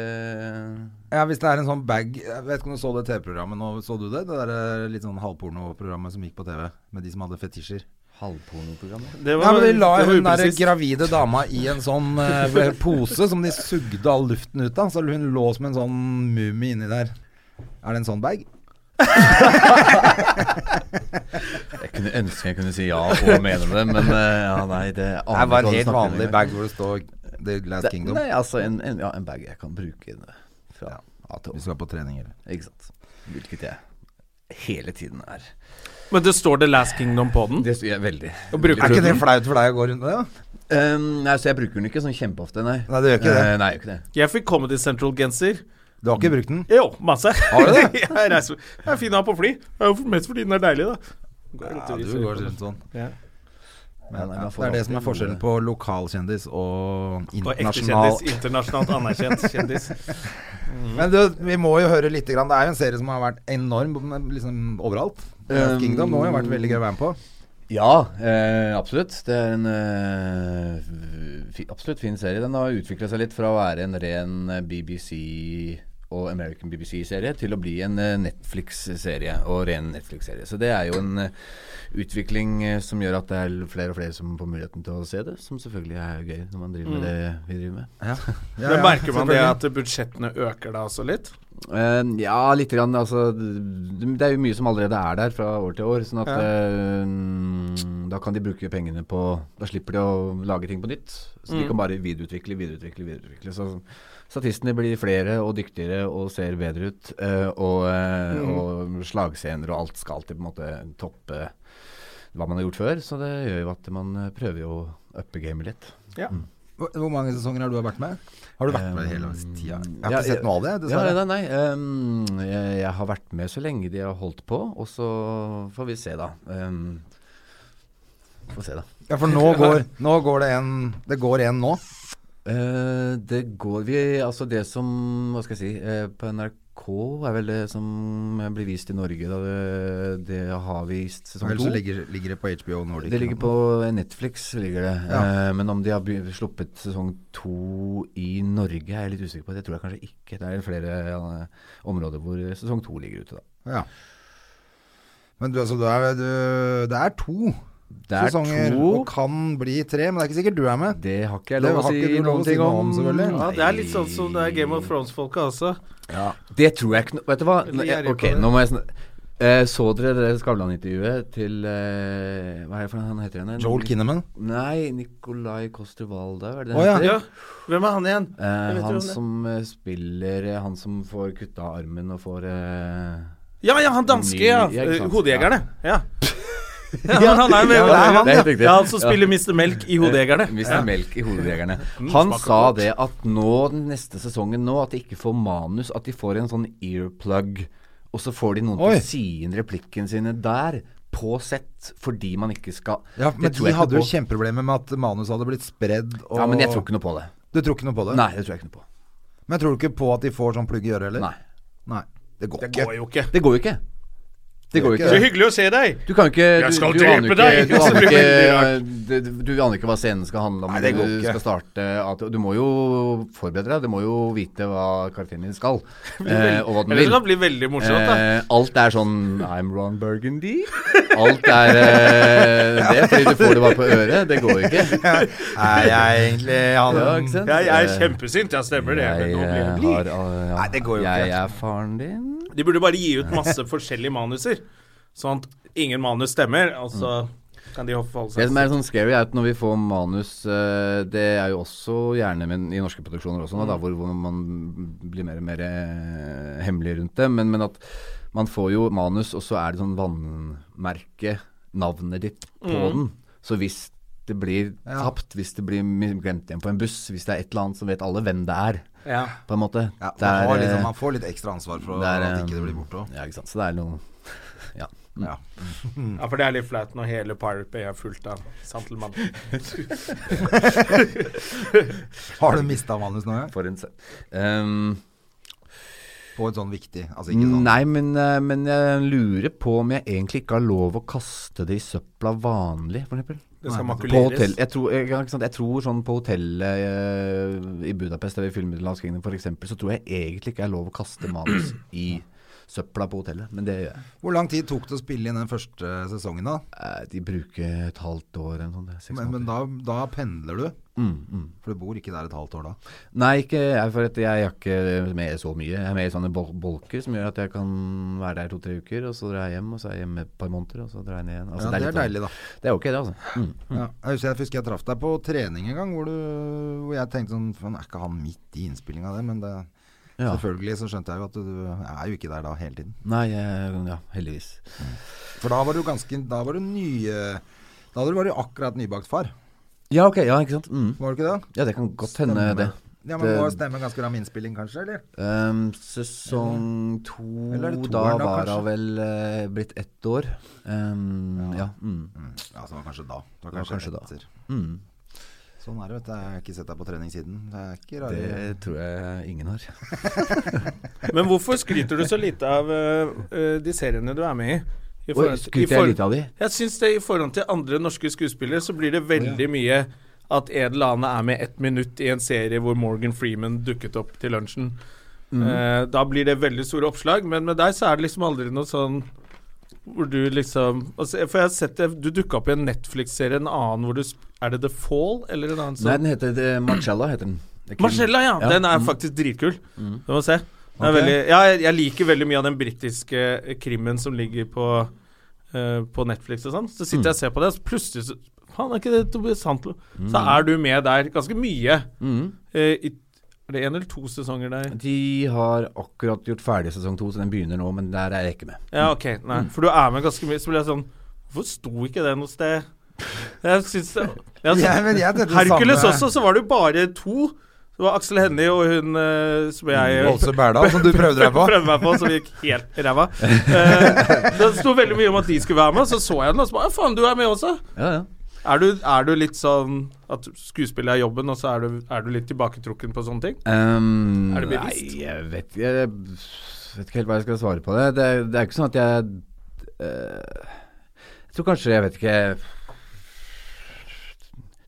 S1: Ja, hvis det er en sånn bag Jeg vet ikke om du så det TV-programmet nå, så du det? Det der litt sånn halvporno-programmet som gikk på TV, med de som hadde fetisjer.
S3: halvpornoprogrammet.
S2: Det
S1: Nei, men De la
S2: det var
S1: hun der
S2: upresist.
S1: gravide dama i en sånn eh, pose som de sugde all luften ut av, så hun lå som en sånn mumie inni der. Er det en sånn bag?
S3: Jeg kunne ønske jeg kunne si ja og mene det, men eh, ja, nei, det aner ikke
S1: Det var
S3: hva
S1: en
S3: du
S1: helt
S3: snakker om
S1: vanlig
S3: engang.
S1: bag hvor det står The Last
S3: Det-
S1: Kingdom.
S3: Nei, altså en, en, ja, en bag jeg kan bruke det fra A til Å.
S1: Vi skal på trening, eller?
S3: Ikke sant. Hvilket jeg hele tiden er.
S2: Men det står The Last Kingdom på den.
S3: Det sier jeg veldig.
S2: Og bruker
S1: Er
S2: du
S1: ikke det
S2: den?
S1: flaut for deg å gå rundt med det? da?
S3: Ehm, nei, så jeg bruker den ikke sånn kjempeofte, nei.
S1: Nei, du gjør ikke det.
S3: Eh, nei, jeg gjør ikke det.
S2: Jeg fikk Comedy Central-genser.
S1: Du har ikke brukt den?
S2: Jo, masse.
S1: Har du det?
S2: <laughs> jeg reiser Jeg er fin å ha på fly. Det er jo Mest fordi den er deilig, da. Går rundt
S1: Ja,
S2: og
S1: du
S2: viser
S1: går
S2: på den.
S1: rundt sånn.
S2: Ja.
S1: Men,
S3: nei,
S1: ja,
S3: man får
S1: det er det
S3: alltid
S1: som er forskjellen
S3: gode-
S1: på lokalkjendis og
S2: Og ekte
S1: internasjonal
S2: kjendis. Internasjonalt anerkjent kjendis.
S1: Men du, vi må jo høre litt. Grann. Det er jo en serie som har vært enorm liksom, overalt.
S3: Um,
S1: Kingdom har jo vært veldig gøy å være med på.
S3: Ja, eh, absolutt. Det er en eh, fi, absolutt fin serie. Den har utvikla seg litt fra å være en ren eh, BBC og American BBC-serie til å bli en eh, Netflix-serie og ren Netflix-serie. Så det er jo en eh, utvikling eh, som gjør at det er flere og flere som får muligheten til å se det, som selvfølgelig er gøy når man driver med det vi driver med.
S1: Ja,
S2: Men
S1: ja,
S2: merker man det
S1: selvfølgelig.
S2: at budsjettene øker da også litt?
S3: Eh, ja, lite grann. Altså, det det er jo mye som allerede er der fra år til år. Sånn at eh, mm, da kan de bruke pengene på Da slipper de å lage ting på nytt. Så de kan bare videreutvikle, videreutvikle, videreutvikle. Så statistene blir flere og dyktigere og ser bedre ut. eh, og, eh, og slagscener og alt skal alltid på en måte toppe hva man har gjort før. Så det gjør jo at man eh, prøver jo å uppe gamet litt.
S2: Ja.
S1: Hvor hvor mange sesonger har du vært med? Har du vært med
S3: Um,
S1: hele tida? Jeg har
S3: ja,
S1: ikke sett noe av det,
S3: Ja,
S1: dessverre.
S3: nei, nei, ehm, jeg, jeg har vært med så lenge de har holdt på, og så får vi se, da. Ehm, får se, da.
S1: Ja, for
S2: <laughs>
S1: nå går, nå går det en Det går en nå.
S3: Eh, det går vi Altså, det som Hva skal jeg si eh, På NRK er vel det som blir vist i Norge, da. Det, det har vist sesong
S1: Ellers så
S3: to.
S1: ligger, ligger det på HBO Nordic.
S3: Det ligger på Netflix, ligger det.
S1: Ja.
S3: Eh, men om de har by- sluppet sesong to i Norge, er jeg litt usikker på. Det tror jeg kanskje ikke. Det er flere eh, områder hvor sesong to ligger ute, da.
S1: Ja. Men du, altså, du er, du, det er to
S3: Det er
S1: sesonger
S3: to.
S1: og kan bli tre, men det er ikke sikkert du er med.
S3: Det har ikke jeg
S1: Det
S3: lov å
S1: har
S3: si
S1: ikke du lov å
S3: noen
S1: si
S3: ting
S1: noe
S3: om.
S1: om, selvfølgelig.
S2: Ja, det er litt sånn som det er Game of Thrones-folka også.
S3: Ja, det tror jeg ikke noe Vet du hva? Nå, jeg, ok, nå må jeg snak- Eh, så dere det Skavlan-intervjuet til eh, Hva er det for noe han heter igjen?
S1: Joel Kinnaman.
S3: Nei, Nicolai Coster-Waldau, er det det
S1: Å, ja.
S3: heter?
S2: Ja. Hvem er han igjen? Jeg
S3: Eh,
S2: vet hvem
S3: han
S2: det er.
S3: som eh, spiller eh, Han som får kutta armen og får eh,
S2: Ja, ja, han danske, ja.
S3: Ny- ja, ikke sant.
S2: Hodejegerne. Ja. ja, han, han er jo med.
S3: Ja, det er han,
S2: ja.
S3: helt riktig.
S2: Ja, han som spiller Mr. Melk i Hodejegerne.
S3: Mr.
S2: Ja.
S3: Melk i
S2: <laughs>
S3: Hodejegerne. Han
S2: Mm, smaker
S3: sa
S2: godt.
S3: det at nå, den neste sesongen nå, at de ikke får manus, at de får en sånn earplug, og så får de noen
S1: Oi.
S3: til å si inn replikken sine der, på sett, fordi man ikke skal
S1: Ja,
S3: Det
S1: men
S3: tror jeg
S1: de
S3: ikke
S1: hadde
S3: noe
S1: jo
S3: på.
S1: kjempeproblemer med at manus hadde blitt spredd. Og
S3: Ja, men jeg tror ikke noe på det.
S1: Du tror ikke noe på det?
S3: Nei, det tror jeg ikke noe på.
S1: Men tror du ikke på at de får sånn plugg i øret, eller?
S3: Nei.
S1: Nei. Det går
S2: Det
S1: ikke.
S2: går jo ikke.
S3: Det går jo ikke. Det går jo
S2: Så
S3: ikke.
S2: hyggelig å se deg!
S3: Du kan ikke du,
S2: Jeg skal
S3: du aner
S2: drepe
S3: ikke,
S2: deg!
S3: Du aner
S2: Det blir
S3: ikke,
S2: veldig
S3: du, du aner ikke hva scenen skal handle om.
S1: Nei, det går
S3: du
S1: ikke.
S3: skal starte at, Du må jo forberede deg. Du må jo vite hva karakteren
S2: <laughs>
S3: din skal, eh, og hva den
S2: Eller det
S3: vil.
S2: kan bli veldig morsomt, da.
S3: Eh, alt er sånn I'm Ron Burgundy. Alt er eh, det, fordi du får det bare på øret. Det går jo ikke.
S1: Er jeg egentlig han
S3: Ja, ikke sant?
S2: Jeg, jeg er
S3: Eh,
S2: kjempesint, ja, stemmer det. Men
S3: Jeg
S2: nå blir
S3: eh,
S2: det
S3: har
S2: blir.
S3: eh,
S1: Nei, det går jo
S3: Jeg
S1: ikke.
S3: er faren din.
S2: De burde bare gi ut masse forskjellige manuser, sånn at ingen manus stemmer. Og så kan de forholde
S3: Det
S2: seg
S3: som er sånn scary, er at når vi får manus eh, Det er jo også gjerne men, i norske produksjoner også, nå,
S1: Mm.
S3: da, hvor, hvor man blir mer og mer eh, hemmelig rundt det. Men, men at man får jo manus, og så er det sånn vannmerke, navnet ditt, på
S1: Mm.
S3: den. Så hvis det blir tapt, hvis det blir mi- glemt igjen på en buss, hvis det er et eller annet, så vet alle hvem det er,
S2: Ja.
S3: på en måte.
S1: ja,
S3: det
S1: man,
S3: er,
S1: har liksom,
S3: eh,
S1: man får litt ekstra ansvar for
S3: det er,
S1: at
S3: eh,
S1: ikke
S3: mm.
S1: det blir borte òg.
S3: Ja, ikke sant. Så det er noe Ja.
S1: Ja.
S2: ja, for det er litt flaut når hele Pirate Bay er fullt av Santelmann.
S1: Har du mista manus nå, ja?
S3: For en se... Um,
S1: På et sånn viktig Altså ikke sånn
S3: Nei, men, eh, men jeg lurer på om jeg egentlig ikke har lov å kaste det i søpla vanlig, for eksempel.
S2: Det skal
S3: På hotell,
S2: makuleres.
S3: jeg, tror, jeg, ikke sant? jeg tror sånn på hotellet eh, i Budapest, der vi filmet Last Kingdom f.eks., så tror jeg egentlig ikke jeg har lov å kaste manus i søpla på hotellet. Men det gjør jeg.
S1: Hvor lang tid tok det å spille inn den første sesongen, da?
S3: Eh, De bruker et halvt år eller noe sånt. det er Seks
S1: Men, men
S3: måneder.
S1: da, da pendler du?
S3: Mm,
S1: For du bor ikke der et halvt år da?
S3: Nei, ikke jeg, for at jeg er ikke med så mye. Jeg er med i sånne bol bolker som gjør at jeg kan være der to-tre uker, og så drar jeg hjem, og så er jeg hjemme et par måneder, og så drar jeg ned igjen. Altså,
S1: ja, det er,
S3: litt sånn-
S1: deilig, da.
S3: Det er ok, det, altså. Mm.
S1: Ja. Jeg husker jeg, husker jeg traff deg på trening en gang, hvor, du, hvor jeg tenkte sånn "Faen, Er ikke han midt i innspillinga, det? Men det,
S3: Ja.
S1: Selvfølgelig så skjønte jeg jo at du er jo ikke der da hele tiden.
S3: Nei, eh, ja, heldigvis.
S1: For da var du ganske Da var du nye Da var du akkurat nybakt far,
S3: Ja, ok, ja, ikke sant. Mm.
S1: var du ikke det?
S3: Ja, det kan godt hende, det.
S1: Ja, men
S3: Det-
S1: Må stemme ganske ram innspilling, kanskje? eller?
S3: Ehm, sesong to
S1: Eller er det
S3: Da
S1: toeren da,
S3: var hun
S1: kanskje?
S3: vel eh, blitt ett år. Ehm, ja. Mm.
S1: Ja, så var det kanskje da. Det var
S3: var kanskje da.
S1: etter.
S3: Mm.
S1: Sånn er det, vet du. Jeg har ikke sett deg på treningssiden. Det er ikke rare
S3: Det tror jeg ingen har.
S2: Men hvorfor skryter du så lite av øh, øh, de seriene du er med i? I
S3: Oi,
S2: forhold- i
S3: skryter
S2: forhold-
S3: jeg litt av de?
S2: Jeg syns det i forhold til andre norske skuespillere så blir det veldig mye at en eller annen er med ett minutt i en serie hvor Morgan Freeman dukket opp til lunsjen. Eh, da blir det veldig store oppslag, men med deg så er det liksom aldri noe sånn hvor du liksom altså, For jeg har sett det, du dukka opp i en Netflix-serie, en annen hvor du sp- Er det The Fall, eller en annen
S3: Nei,
S2: sånn?
S3: den heter det, Marcella, heter den. Det er Kim-
S2: Marcella, ja, Den er
S3: mm.
S2: faktisk dritkul. Du må se. Den er veldig, ja, jeg, jeg liker veldig mye av den britiske eh, krimmen som ligger på, eh, på Netflix og sånn. Så sitter jeg og ser på det, og så plutselig så Faen, er ikke det Tobias Santlo? Så er du med der ganske mye.
S3: Mm.
S2: eh, i, er det én eller to sesonger der?
S3: De har akkurat gjort ferdig sesong to, så den begynner nå, men der er jeg ikke med.
S2: Ja, ok. Nei, for du er med ganske mye. Så ble jeg sånn Hvorfor sto ikke det noe sted? Jeg syns det jeg,
S1: Ja, men jeg tenkte det
S2: Hercules
S1: samme.
S2: også, så var det jo bare to. Det var Aksel Hennie og hun eh, som jeg
S1: Åse Berdal, som altså, du prøvde deg på.
S2: <laughs> prøvde meg på, som gikk helt i ræva. Eh, det sto veldig mye om at de skulle være med, og så så jeg den, og så bare «Ja, Faen, du er med også!
S3: Ja, ja.
S2: Er du, er du litt sånn at skuespillet er jobben, og så er du, er du litt tilbaketrukken på sånne ting?
S3: Ehm,
S2: Er det bevisst?
S3: Nei, jeg vet, jeg vet ikke helt hva jeg skal svare på det. Det, er- det er ikke sånn at jeg eh, Jeg tror kanskje Jeg vet ikke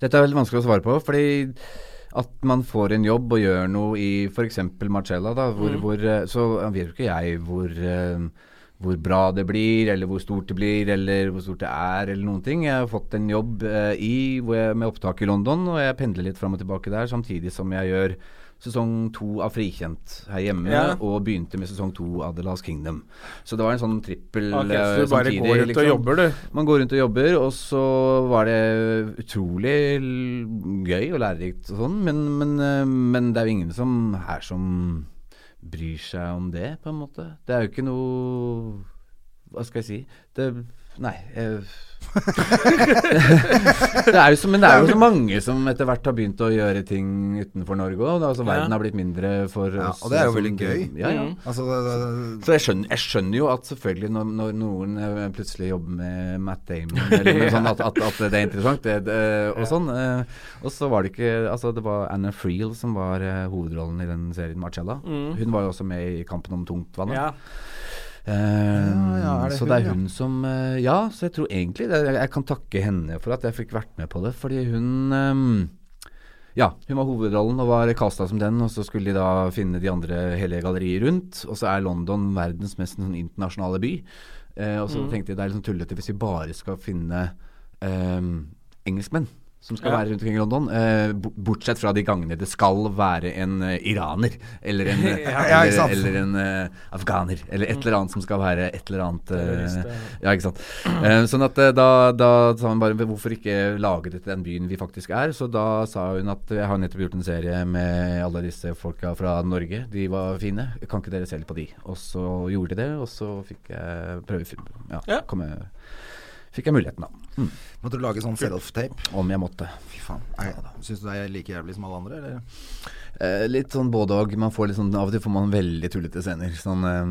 S3: Dette er veldig vanskelig å svare på, fordi at man får en jobb og gjør noe i f.eks. Marcella, da, hvor,
S2: Mm.
S3: hvor, eh, så vet jo ikke jeg hvor eh, hvor bra det blir, eller hvor stort det blir, eller hvor stort det er, eller noen ting. Jeg har fått en jobb eh, i, hvor jeg, med opptak i London, og jeg pendler litt fram og tilbake der, samtidig som jeg gjør sesong to av Frikjent her hjemme,
S2: Ja.
S3: og begynte med sesong to av The Last Kingdom. Så det var en sånn trippel
S2: Ok,
S3: eh,
S2: så du bare
S3: samtidig,
S2: går rundt og
S3: liksom.
S2: jobber, du.
S3: Man går rundt og jobber, og så var det utrolig l- gøy og lærerikt og sånn, men, men, eh, men det er jo ingen som her som bryr seg om det, på en måte. Det er jo ikke noe Hva skal jeg si? Det Nei. eh, <laughs> det er jo så, men det er jo så mange som etter hvert har begynt å gjøre ting utenfor Norge òg. Altså, verden har blitt mindre for
S1: Ja,
S3: oss.
S1: og det er jo
S3: som-
S1: veldig gøy.
S3: Ja, ja.
S1: Altså, det, det,
S3: Så jeg skjønner, jeg skjønner jo at selvfølgelig når, når noen eh, plutselig jobber med Matt Damon eller noe sånt, at, at, at det er interessant det, det, og sånn. eh, Og så var det ikke Altså, det var Anna Friel som var eh, hovedrollen i den serien, Marcella. Hun var jo også med i Kampen om tungtvannet.
S2: Ja.
S3: Eh,
S1: ja, er det
S3: så
S1: hun,
S3: det er
S1: ja?
S3: hun som eh, Ja, så jeg tror egentlig det, jeg, jeg kan takke henne for at jeg fikk vært med på det, fordi hun eh, ja, hun var hovedrollen og var kasta som den, og så skulle de da finne de andre hele galleriet rundt. Og så er London verdens mest sånn internasjonale by. Eh, og så
S1: Mm.
S3: tenkte jeg det er liksom tullete hvis vi bare skal finne eh, engelskmenn som skal være rundt omkring i London. Eh, bo- bortsett fra de gangene det skal være en eh, iraner eller en,
S1: <laughs> Ja, ikke
S3: eller,
S1: sant.
S3: eller en eh, afghaner eller et eller annet som skal være et eller annet eh, Ja, ikke sant. Eh, sånn at eh, da, da sa hun bare "Men hvorfor ikke lage det til den byen vi faktisk er? Så da sa hun at jeg har nettopp gjort en serie med alle disse folka fra Norge. De var fine. Kan ikke dere se litt på de? Og så gjorde de det, og så fikk jeg prøve Ja,
S2: Ja.
S3: Kom jeg, fikk jeg muligheten, da.
S1: måtte du lage sånn self-tape?
S3: Om jeg måtte.
S1: Fy faen. Syns du det er like jævlig som alle andre, eller?
S3: Eh, litt sånn både og. Man får litt sånn, av og til får man veldig tullete scener. Sånn eh,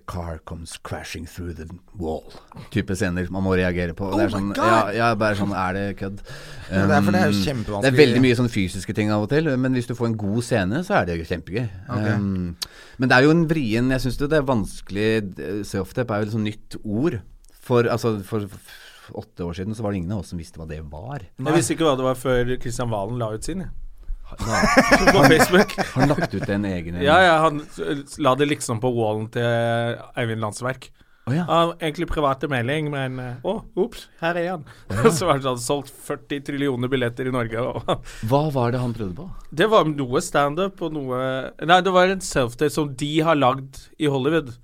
S3: A car comes crashing through the wall. Type scener man må reagere på. Oh det er
S1: my
S3: sånn,
S1: God!
S3: Ja, ja, bare sånn Er det kødd?
S1: Ja, det er- for det er jo
S3: Um,
S1: kjempevanskelig.
S3: Det er veldig mye sånn fysiske ting av og til, men hvis du får en god scene, så er det jo kjempegøy.
S1: Ok.
S3: Um, men det er jo en vrien Jeg syns det det er vanskelig d- Self-tap er jo et sånt nytt ord. For, altså, for f- åtte år siden så var det ingen av oss som visste hva det var.
S2: Jeg visste ikke hva det var før Kristian Valen la ut sin,
S3: <laughs>
S2: jeg. På Facebook.
S3: Har lagt ut en egen
S2: Ja, ja, han s- la det liksom på wallen til Eivind Landsverk.
S3: Å, ja.
S2: Ja, egentlig private melding, men eh, Å, ops, her er han. <laughs> Så var det sånn solgt 40 trillioner billetter i Norge. Og
S3: Hva var det han prøvde på?
S2: det var noe standup og noe Nei, det var en selfdate som de har lagd i Hollywood.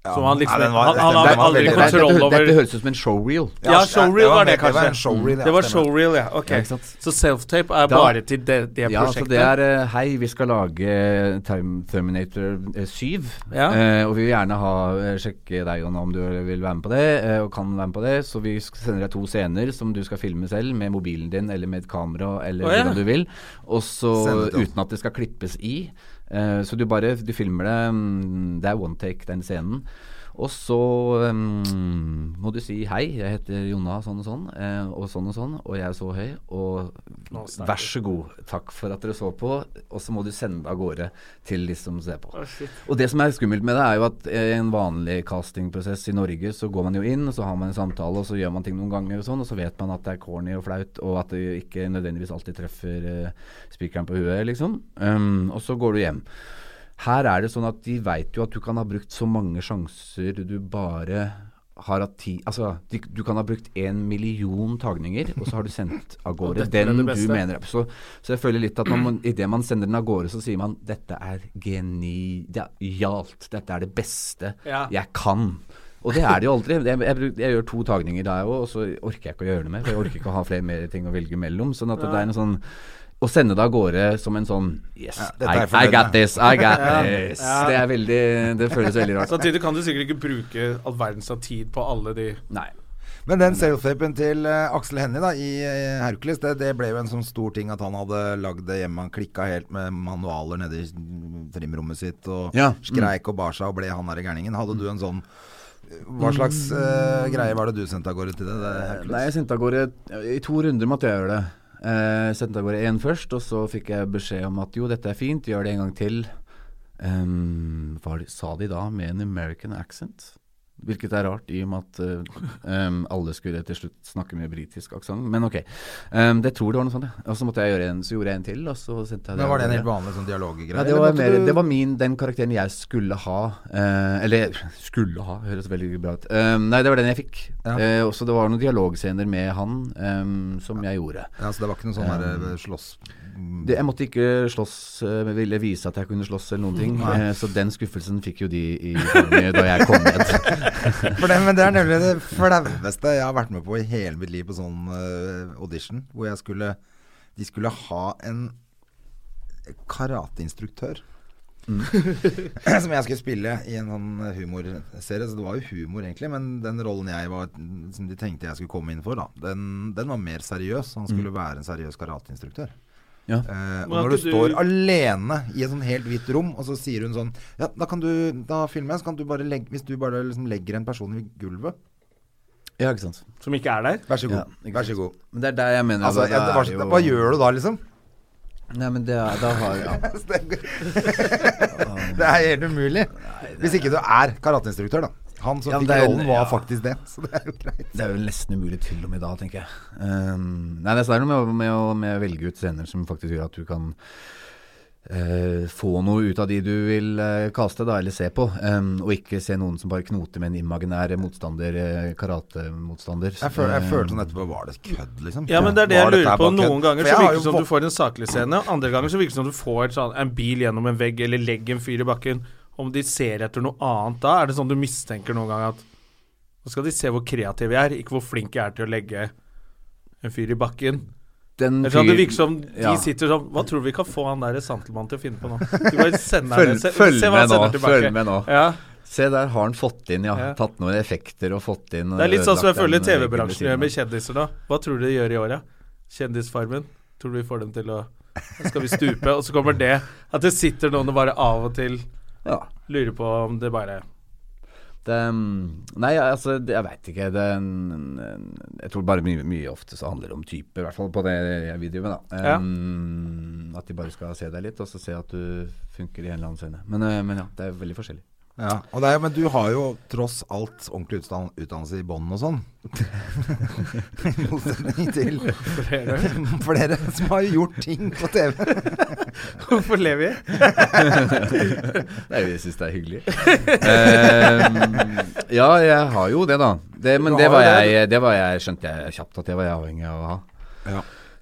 S2: Som han liksom
S1: Nei, den var-
S2: han, han
S1: den
S2: har
S1: var
S2: aldri
S1: veldig-
S3: Dette,
S2: kontroll
S3: dette,
S2: over
S3: dette høres ut som en showreel.
S2: Ja, showreel var det
S1: Det var en
S2: kanskje.
S1: showreel, ja,
S2: Det var
S1: stemmer.
S2: showreel, ja. Ok.
S3: Ja, ikke sant?
S2: så self-tape er
S3: Da-
S2: bare til det, det
S3: Ja, så
S2: prosjektet?
S3: det er eh, Hei, vi skal lage Term- Terminator eh, 7.
S2: Ja.
S3: eh, og vi vil gjerne ha, eh, sjekke deg, Jon, om du vil være med på det, eh, og kan være med på det. Så vi sk- sender deg to scener som du skal filme selv, med mobilen din eller med et kamera, eller
S2: Å, ja.
S3: hvordan du vil. Og så
S1: Send det til oss.
S3: uten at det skal klippes i. Eh, så du bare du filmer det. mm, Det er one take, den scenen. Og så mm, må du si hei, jeg heter Jonna sånn og sånn, eh, og sånn og sånn, og jeg er så høy, og vær så god, takk for at dere så på, og så må du sende det av gårde til de som ser på. og det som er skummelt med det, er jo at eh, i en vanlig castingprosess i Norge, så går man jo inn, og så har man en samtale, og så gjør man ting noen ganger og sånn, og så vet man at det er corny og flaut, og at det ikke nødvendigvis alltid treffer eh, spikeren på huet, liksom. Um, og så går du hjem. Her er det sånn at de veit jo at du kan ha brukt så mange sjanser du bare har hatt ti Altså, de, du kan ha brukt en million tagninger, og så har du sendt
S2: <laughs>
S3: av gårde
S2: dette er
S3: den
S2: det
S3: du
S2: beste.
S3: mener er så, så jeg føler litt at når man, idet man sender den av gårde, så sier man dette er geni... Det er genialt. Dette er det beste
S2: Ja.
S3: jeg kan. Og det er det jo aldri. Jeg, jeg, bruk- jeg gjør to tagninger da, jeg òg, og så orker jeg ikke å gjøre det mer. For jeg orker ikke å ha flere mer ting å velge mellom. Sånn at det er en sånn Å sende det av gårde som en sånn Yes,
S1: dette er
S3: I,
S1: jeg fornøyd
S3: I got
S1: med.
S3: this, I got this. Det er veldig Det føles veldig rart.
S2: Samtidig kan du sikkert ikke bruke all verdens av tid på alle de
S3: Nei.
S1: Men den self-tapen til eh, Aksel Hennie da, i eh, Hercules, det, det ble jo en sånn stor ting at han hadde lagd det hjemme. Han klikka helt med manualer nede i mm, trimrommet sitt og
S3: Ja, mm.
S1: skreik og bar seg og ble han derre gærningen. Hadde du en sånn Hva slags eh, greie var det du sendte av gårde til det? det Hercules?
S3: Eh, Nei, jeg sendte av gårde I to runder måtte jeg gjøre det. Eh, Jeg sendte av gårde én først, og så fikk jeg beskjed om at jo, dette er fint, gjør det en gang til. Ehm, var det, sa de da med en American accent? Hvilket er rart, i og med at eh, ehm, alle skulle til slutt snakke med britisk aksent. Men ok. Ehm, det tror det var noe sånt, ja. Og så måtte jeg gjøre en, så gjorde jeg en til, og så sendte jeg
S1: Men var det en
S3: av
S1: helt
S3: gårde.
S1: vanlig sånn dialoggreie?
S3: Ja, det,
S1: eller
S3: var
S1: måtte
S3: mer,
S1: du-
S3: det var min, den karakteren jeg skulle ha. eh, eller skulle ha, høres veldig bra ut. Eh, nei, det var den jeg fikk.
S1: Ja.
S3: Eh, også det var noen dialogscener med han eh, som jeg gjorde.
S1: ja, så det var ikke noe sånn der, eh, slåss...
S3: Det, jeg måtte ikke slåss, eh, men ville vise at jeg kunne slåss eller noen ting.
S1: Mm,
S3: Eh, så den skuffelsen fikk jo de i fanget da jeg kom ned.
S1: <laughs> For det, men det er nemlig det flaueste jeg har vært med på i hele mitt liv på sånn eh, audition, hvor jeg skulle De skulle ha en karateinstruktør.
S3: Mm.
S1: <laughs> som jeg skulle spille i en sånn humorserie. Så det var jo humor, egentlig. Men den rollen jeg var som de tenkte jeg skulle komme inn for, da, den, den var mer seriøs. Han skulle være en seriøs karateinstruktør.
S3: Mm. Ja.
S1: Eh,
S2: Men
S1: og
S2: har
S1: når du
S2: ikke
S1: står
S2: du-
S1: alene i et sånn helt hvitt rom, og så sier hun sånn Ja, da kan du Da filmer jeg, så kan du bare legge Hvis du bare liksom legger en person i gulvet
S3: ja, ikke sant.
S2: som ikke er der.
S1: Vær så
S3: Ja,
S1: god.
S3: ikke
S1: vær
S3: sant.
S1: så god.
S3: Men det er der jeg mener
S1: Altså,
S3: at
S1: ja,
S3: da
S1: hva,
S3: er
S1: hva gjør du da, liksom?
S3: Nei, men det er, da har ja.
S1: <laughs> Det er helt umulig. Hvis ikke du er karateinstruktør, da. Han som
S3: Ja, men
S1: fikk
S3: det er-
S1: rollen, var
S3: ja.
S1: faktisk det. Så det er jo greit.
S3: Det er jo nesten umulig til og med da, tenker jeg. Ehm, nei, det er noe med, å- med, å- med å velge ut scener som faktisk gjør at du kan eh, få noe ut av de du vil eh, kaste, da, eller se på. Ehm, og ikke se noen som bare knoter med en imaginær motstander, eh, karatemotstander. Ehm,
S1: Jeg, føl, jeg følte sånn etterpå Var det kødd, liksom?
S2: Ja, men det er det jeg
S1: Var dette
S2: lurer på.
S1: bare kødd?
S2: Noen ganger så
S1: For jeg har
S2: virker det
S1: jo
S2: som du
S1: vok-
S2: får en saklig scene, og andre ganger så virker det som du får et sånn, en bil gjennom en vegg, eller legg en fyr i bakken. Om de ser etter noe annet da, er det sånn du mistenker noen gang at Nå skal de se hvor kreativ jeg er, ikke hvor flink jeg er til å legge en fyr i bakken.
S3: Den
S2: Eller sånn, det
S3: fyr-
S2: virker som de
S3: ja.
S2: sitter sånn Hva tror du vi kan få han der Santelmann til å finne på nå? Du bare
S3: <laughs>
S2: sender han
S3: Følg,
S2: det, se-
S3: følg
S2: se hva han
S3: med nå,
S2: sender tilbake.
S3: følg med nå.
S2: Ja,
S3: Se, der har han fått inn, ja.
S2: Ja.
S3: Tatt noen effekter og fått inn
S2: det er litt sånn som jeg
S3: ødelagt
S2: føler
S3: den, eh,
S2: TV-bransjen
S3: veggen
S2: gjør
S3: ved
S2: med
S3: siden
S2: kjendiser nå. Hva tror du de gjør i år, ja? Kjendisfarmen. Tror du vi får dem til å Skal vi stupe? Og så kommer det. At det sitter noen og bare av og til
S3: av. Ja.
S2: lurer på om det bare
S3: Det, mm, nei, altså, det, jeg veit ikke. Det, er en- en- jeg tror bare mye, mye ofte så handler det om type, i hvert fall på det jeg vil drive med. Da.
S2: Ja.
S3: Em, at de bare skal se deg litt, og så se at du funker i en eller annen scene. Men, eh, men ja, det er veldig forskjellig.
S1: Ja, og det er, men du har jo tross alt ordentlig utstand, utdannelse i bånn og sånn. <laughs> I motsetning til
S2: <laughs>
S1: <laughs> flere som har gjort ting på TV.
S2: Hvorfor lever vi?
S3: Nei, jeg syns det er hyggelig. Em, Ehm, ja, jeg har jo det, da. Det, men
S1: Du
S3: det
S1: har
S3: var
S1: jo det.
S3: jeg, det var jeg skjønte jeg kjapt at det var jeg avhengig av å ha.
S1: Ja.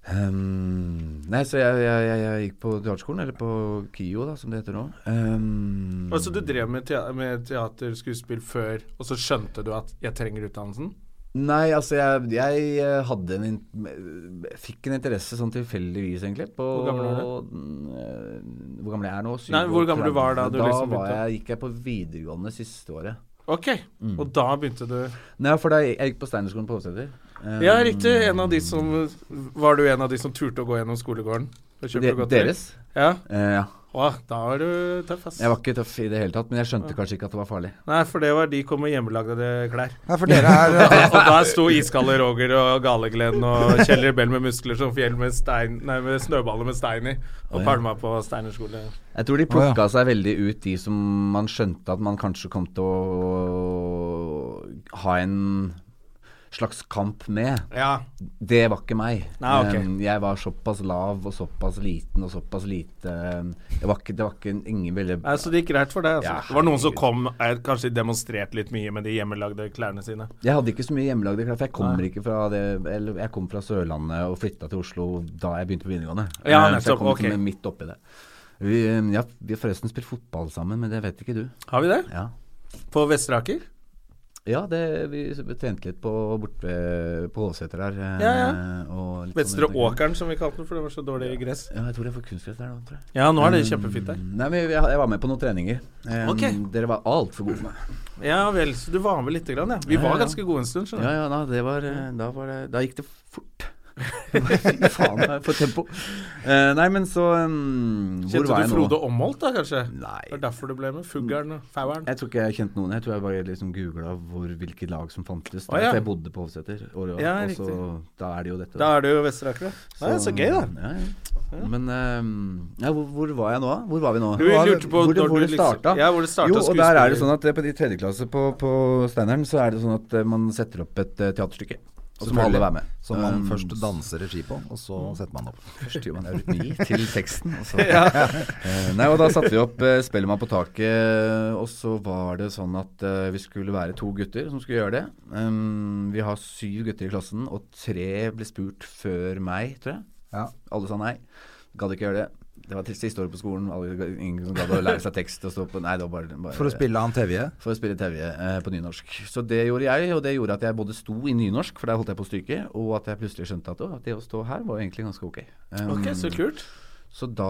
S3: Ehm, nei, så jeg, jeg, jeg, jeg gikk på teaterskolen, eller på KIO, da, som det heter nå. Ehm,
S2: Altså, du drev med, tea med teater, skuespill før, og så skjønte du at 'jeg trenger utdannelsen'?
S3: Nei, altså jeg, jeg eh, hadde en in- eh, fikk en interesse sånn tilfeldigvis, egentlig. På,
S2: Hvor gammel var
S3: du? Hvor gammel jeg er nå?
S2: Nei, hvor gammel du var da
S3: 37.
S2: du
S3: da
S2: liksom
S3: var
S2: begynte?
S3: jeg, gikk jeg på videregående siste året.
S2: Ok.
S3: Mm.
S2: Og da begynte du
S3: Nei, for da, jeg gikk på Steinerskolen på Hovseter. Eh,
S2: Ja, riktig. En av de som Var du en av de som turte å gå gjennom skolegården? Og kjøpte
S3: de,
S2: godteri?
S3: deres?
S2: Ja.
S3: Eh, ja.
S2: Å, da var du tøff, ass.
S3: Jeg var ikke tøff i det hele tatt, men jeg skjønte kanskje ikke at det var farlig.
S2: Nei, for det var de kom med hjemmelagde klær.
S1: Nei, for dere <laughs> er
S2: <laughs> Og der sto iskalde Roger og Galegleden og Kjell Rebell med muskler som fjell med stein Nei, med snøballer med stein i, og pælma på Steiner skole.
S3: Jeg tror de
S1: Å,
S3: plukka seg veldig ut de som man skjønte at man kanskje kom til å ha en slags kamp med.
S2: Ja.
S3: Det var ikke meg.
S2: Nei, ok.
S3: Um, Jeg var såpass lav og såpass liten og såpass lite um, jeg var ikke, Det var ikke en- ingen ville
S2: Nei, så det gikk greit for deg, altså.
S3: Ja,
S2: det var noen som kom eh, Kanskje demonstrerte litt mye med de hjemmelagde klærne sine.
S3: Jeg hadde ikke så mye hjemmelagde klær, for jeg kommer ikke fra det Eller jeg kom fra Sørlandet og flytta til Oslo da jeg begynte på videregående.
S2: Ja,
S3: Um, Så
S2: nettopp,
S3: jeg kom
S2: ok.
S3: liksom midt oppi det. Vi, um, ja, vi har forresten spilt fotball sammen, men det vet ikke du.
S2: Har vi det?
S3: Ja,
S2: På Vesteraker?
S3: Sånn ja det, vi trente litt på borte ved- på Hovseter der. eh,
S2: Ja,
S3: og litt
S2: Vestre
S3: sånne ting.
S2: Åkeren, som vi kalte den, for det var så dårlig gress.
S3: Ja, jeg tror det er for kunstgress der nå, tror jeg.
S2: Ja, nå er det kjempefint der.
S3: Nei, men jeg, jeg var med på noen treninger. Um,
S2: Ok.
S3: Dere var altfor gode for meg.
S2: Ja vel, så du var med lite grann, ja. Vi
S3: Ja,
S2: var
S3: ja.
S2: ganske gode en stund, skjønner du.
S3: Ja, ja, nei, det var, eh, da, var det, da gikk det
S2: <laughs>
S3: fort. Fy Faen, jeg er for tempo. Eh, nei, men så um, Hvor
S2: Kjente
S3: var
S2: du
S3: jeg nå?
S2: Frode Omholt da, kanskje? Det
S3: Nei.
S2: var derfor du ble med. Fuggeren og Faueren.
S3: Jeg tror ikke jeg kjente noen. Jeg tror jeg bare liksom googla hvilket lag som fantes. Da,
S2: Å, ja.
S3: For jeg bodde på Hovseter. Og, og,
S2: Ja,
S3: og så,
S2: riktig.
S3: da er det jo dette.
S2: Da er det jo Vesteraker, da. Nei, så gøy, da.
S3: Ja, ja. Men eh, ja, hvor, hvor var jeg nå? Hvor var vi nå?
S2: Du
S3: Hvor var vi-
S2: lurte på
S3: hvor, det-
S2: når
S3: hvor
S2: du
S3: det
S2: liksom-
S3: starta.
S2: Ja, hvor det starta
S3: jo, og der
S2: skuespiller-
S3: er det sånn at eh, på de tredjeklasse på, på Steineren, så er det sånn at eh, man setter opp et eh, teaterstykke. Og så må alle være med.
S1: Som man
S3: Um,
S1: først danser regi på, og så setter man opp.
S3: Først gjør man eurytmi til teksten. Og
S1: <laughs>
S3: så. <laughs> Eh, Nei, og da satte vi opp eh, Spellemann på taket, eh, og så var det sånn at eh, vi skulle være to gutter som skulle gjøre det. Um, vi har syv gutter i klassen, og tre ble spurt før meg, tror jeg.
S1: Ja.
S3: Alle sa nei. Gadd ikke gjøre det. Det var til siste året på skolen. Alle, ingen som gadd å lære seg tekst og stå på Nei, det var bare, bare
S1: For å spille han Tevje.
S3: for å spille TV eh, på nynorsk. Så det gjorde jeg, og det gjorde at jeg både sto i nynorsk, for der holdt jeg på å stryke, og at jeg plutselig skjønte at, å, at det å stå her var jo egentlig ganske ok. Um,
S2: Ok, så kult.
S3: så da,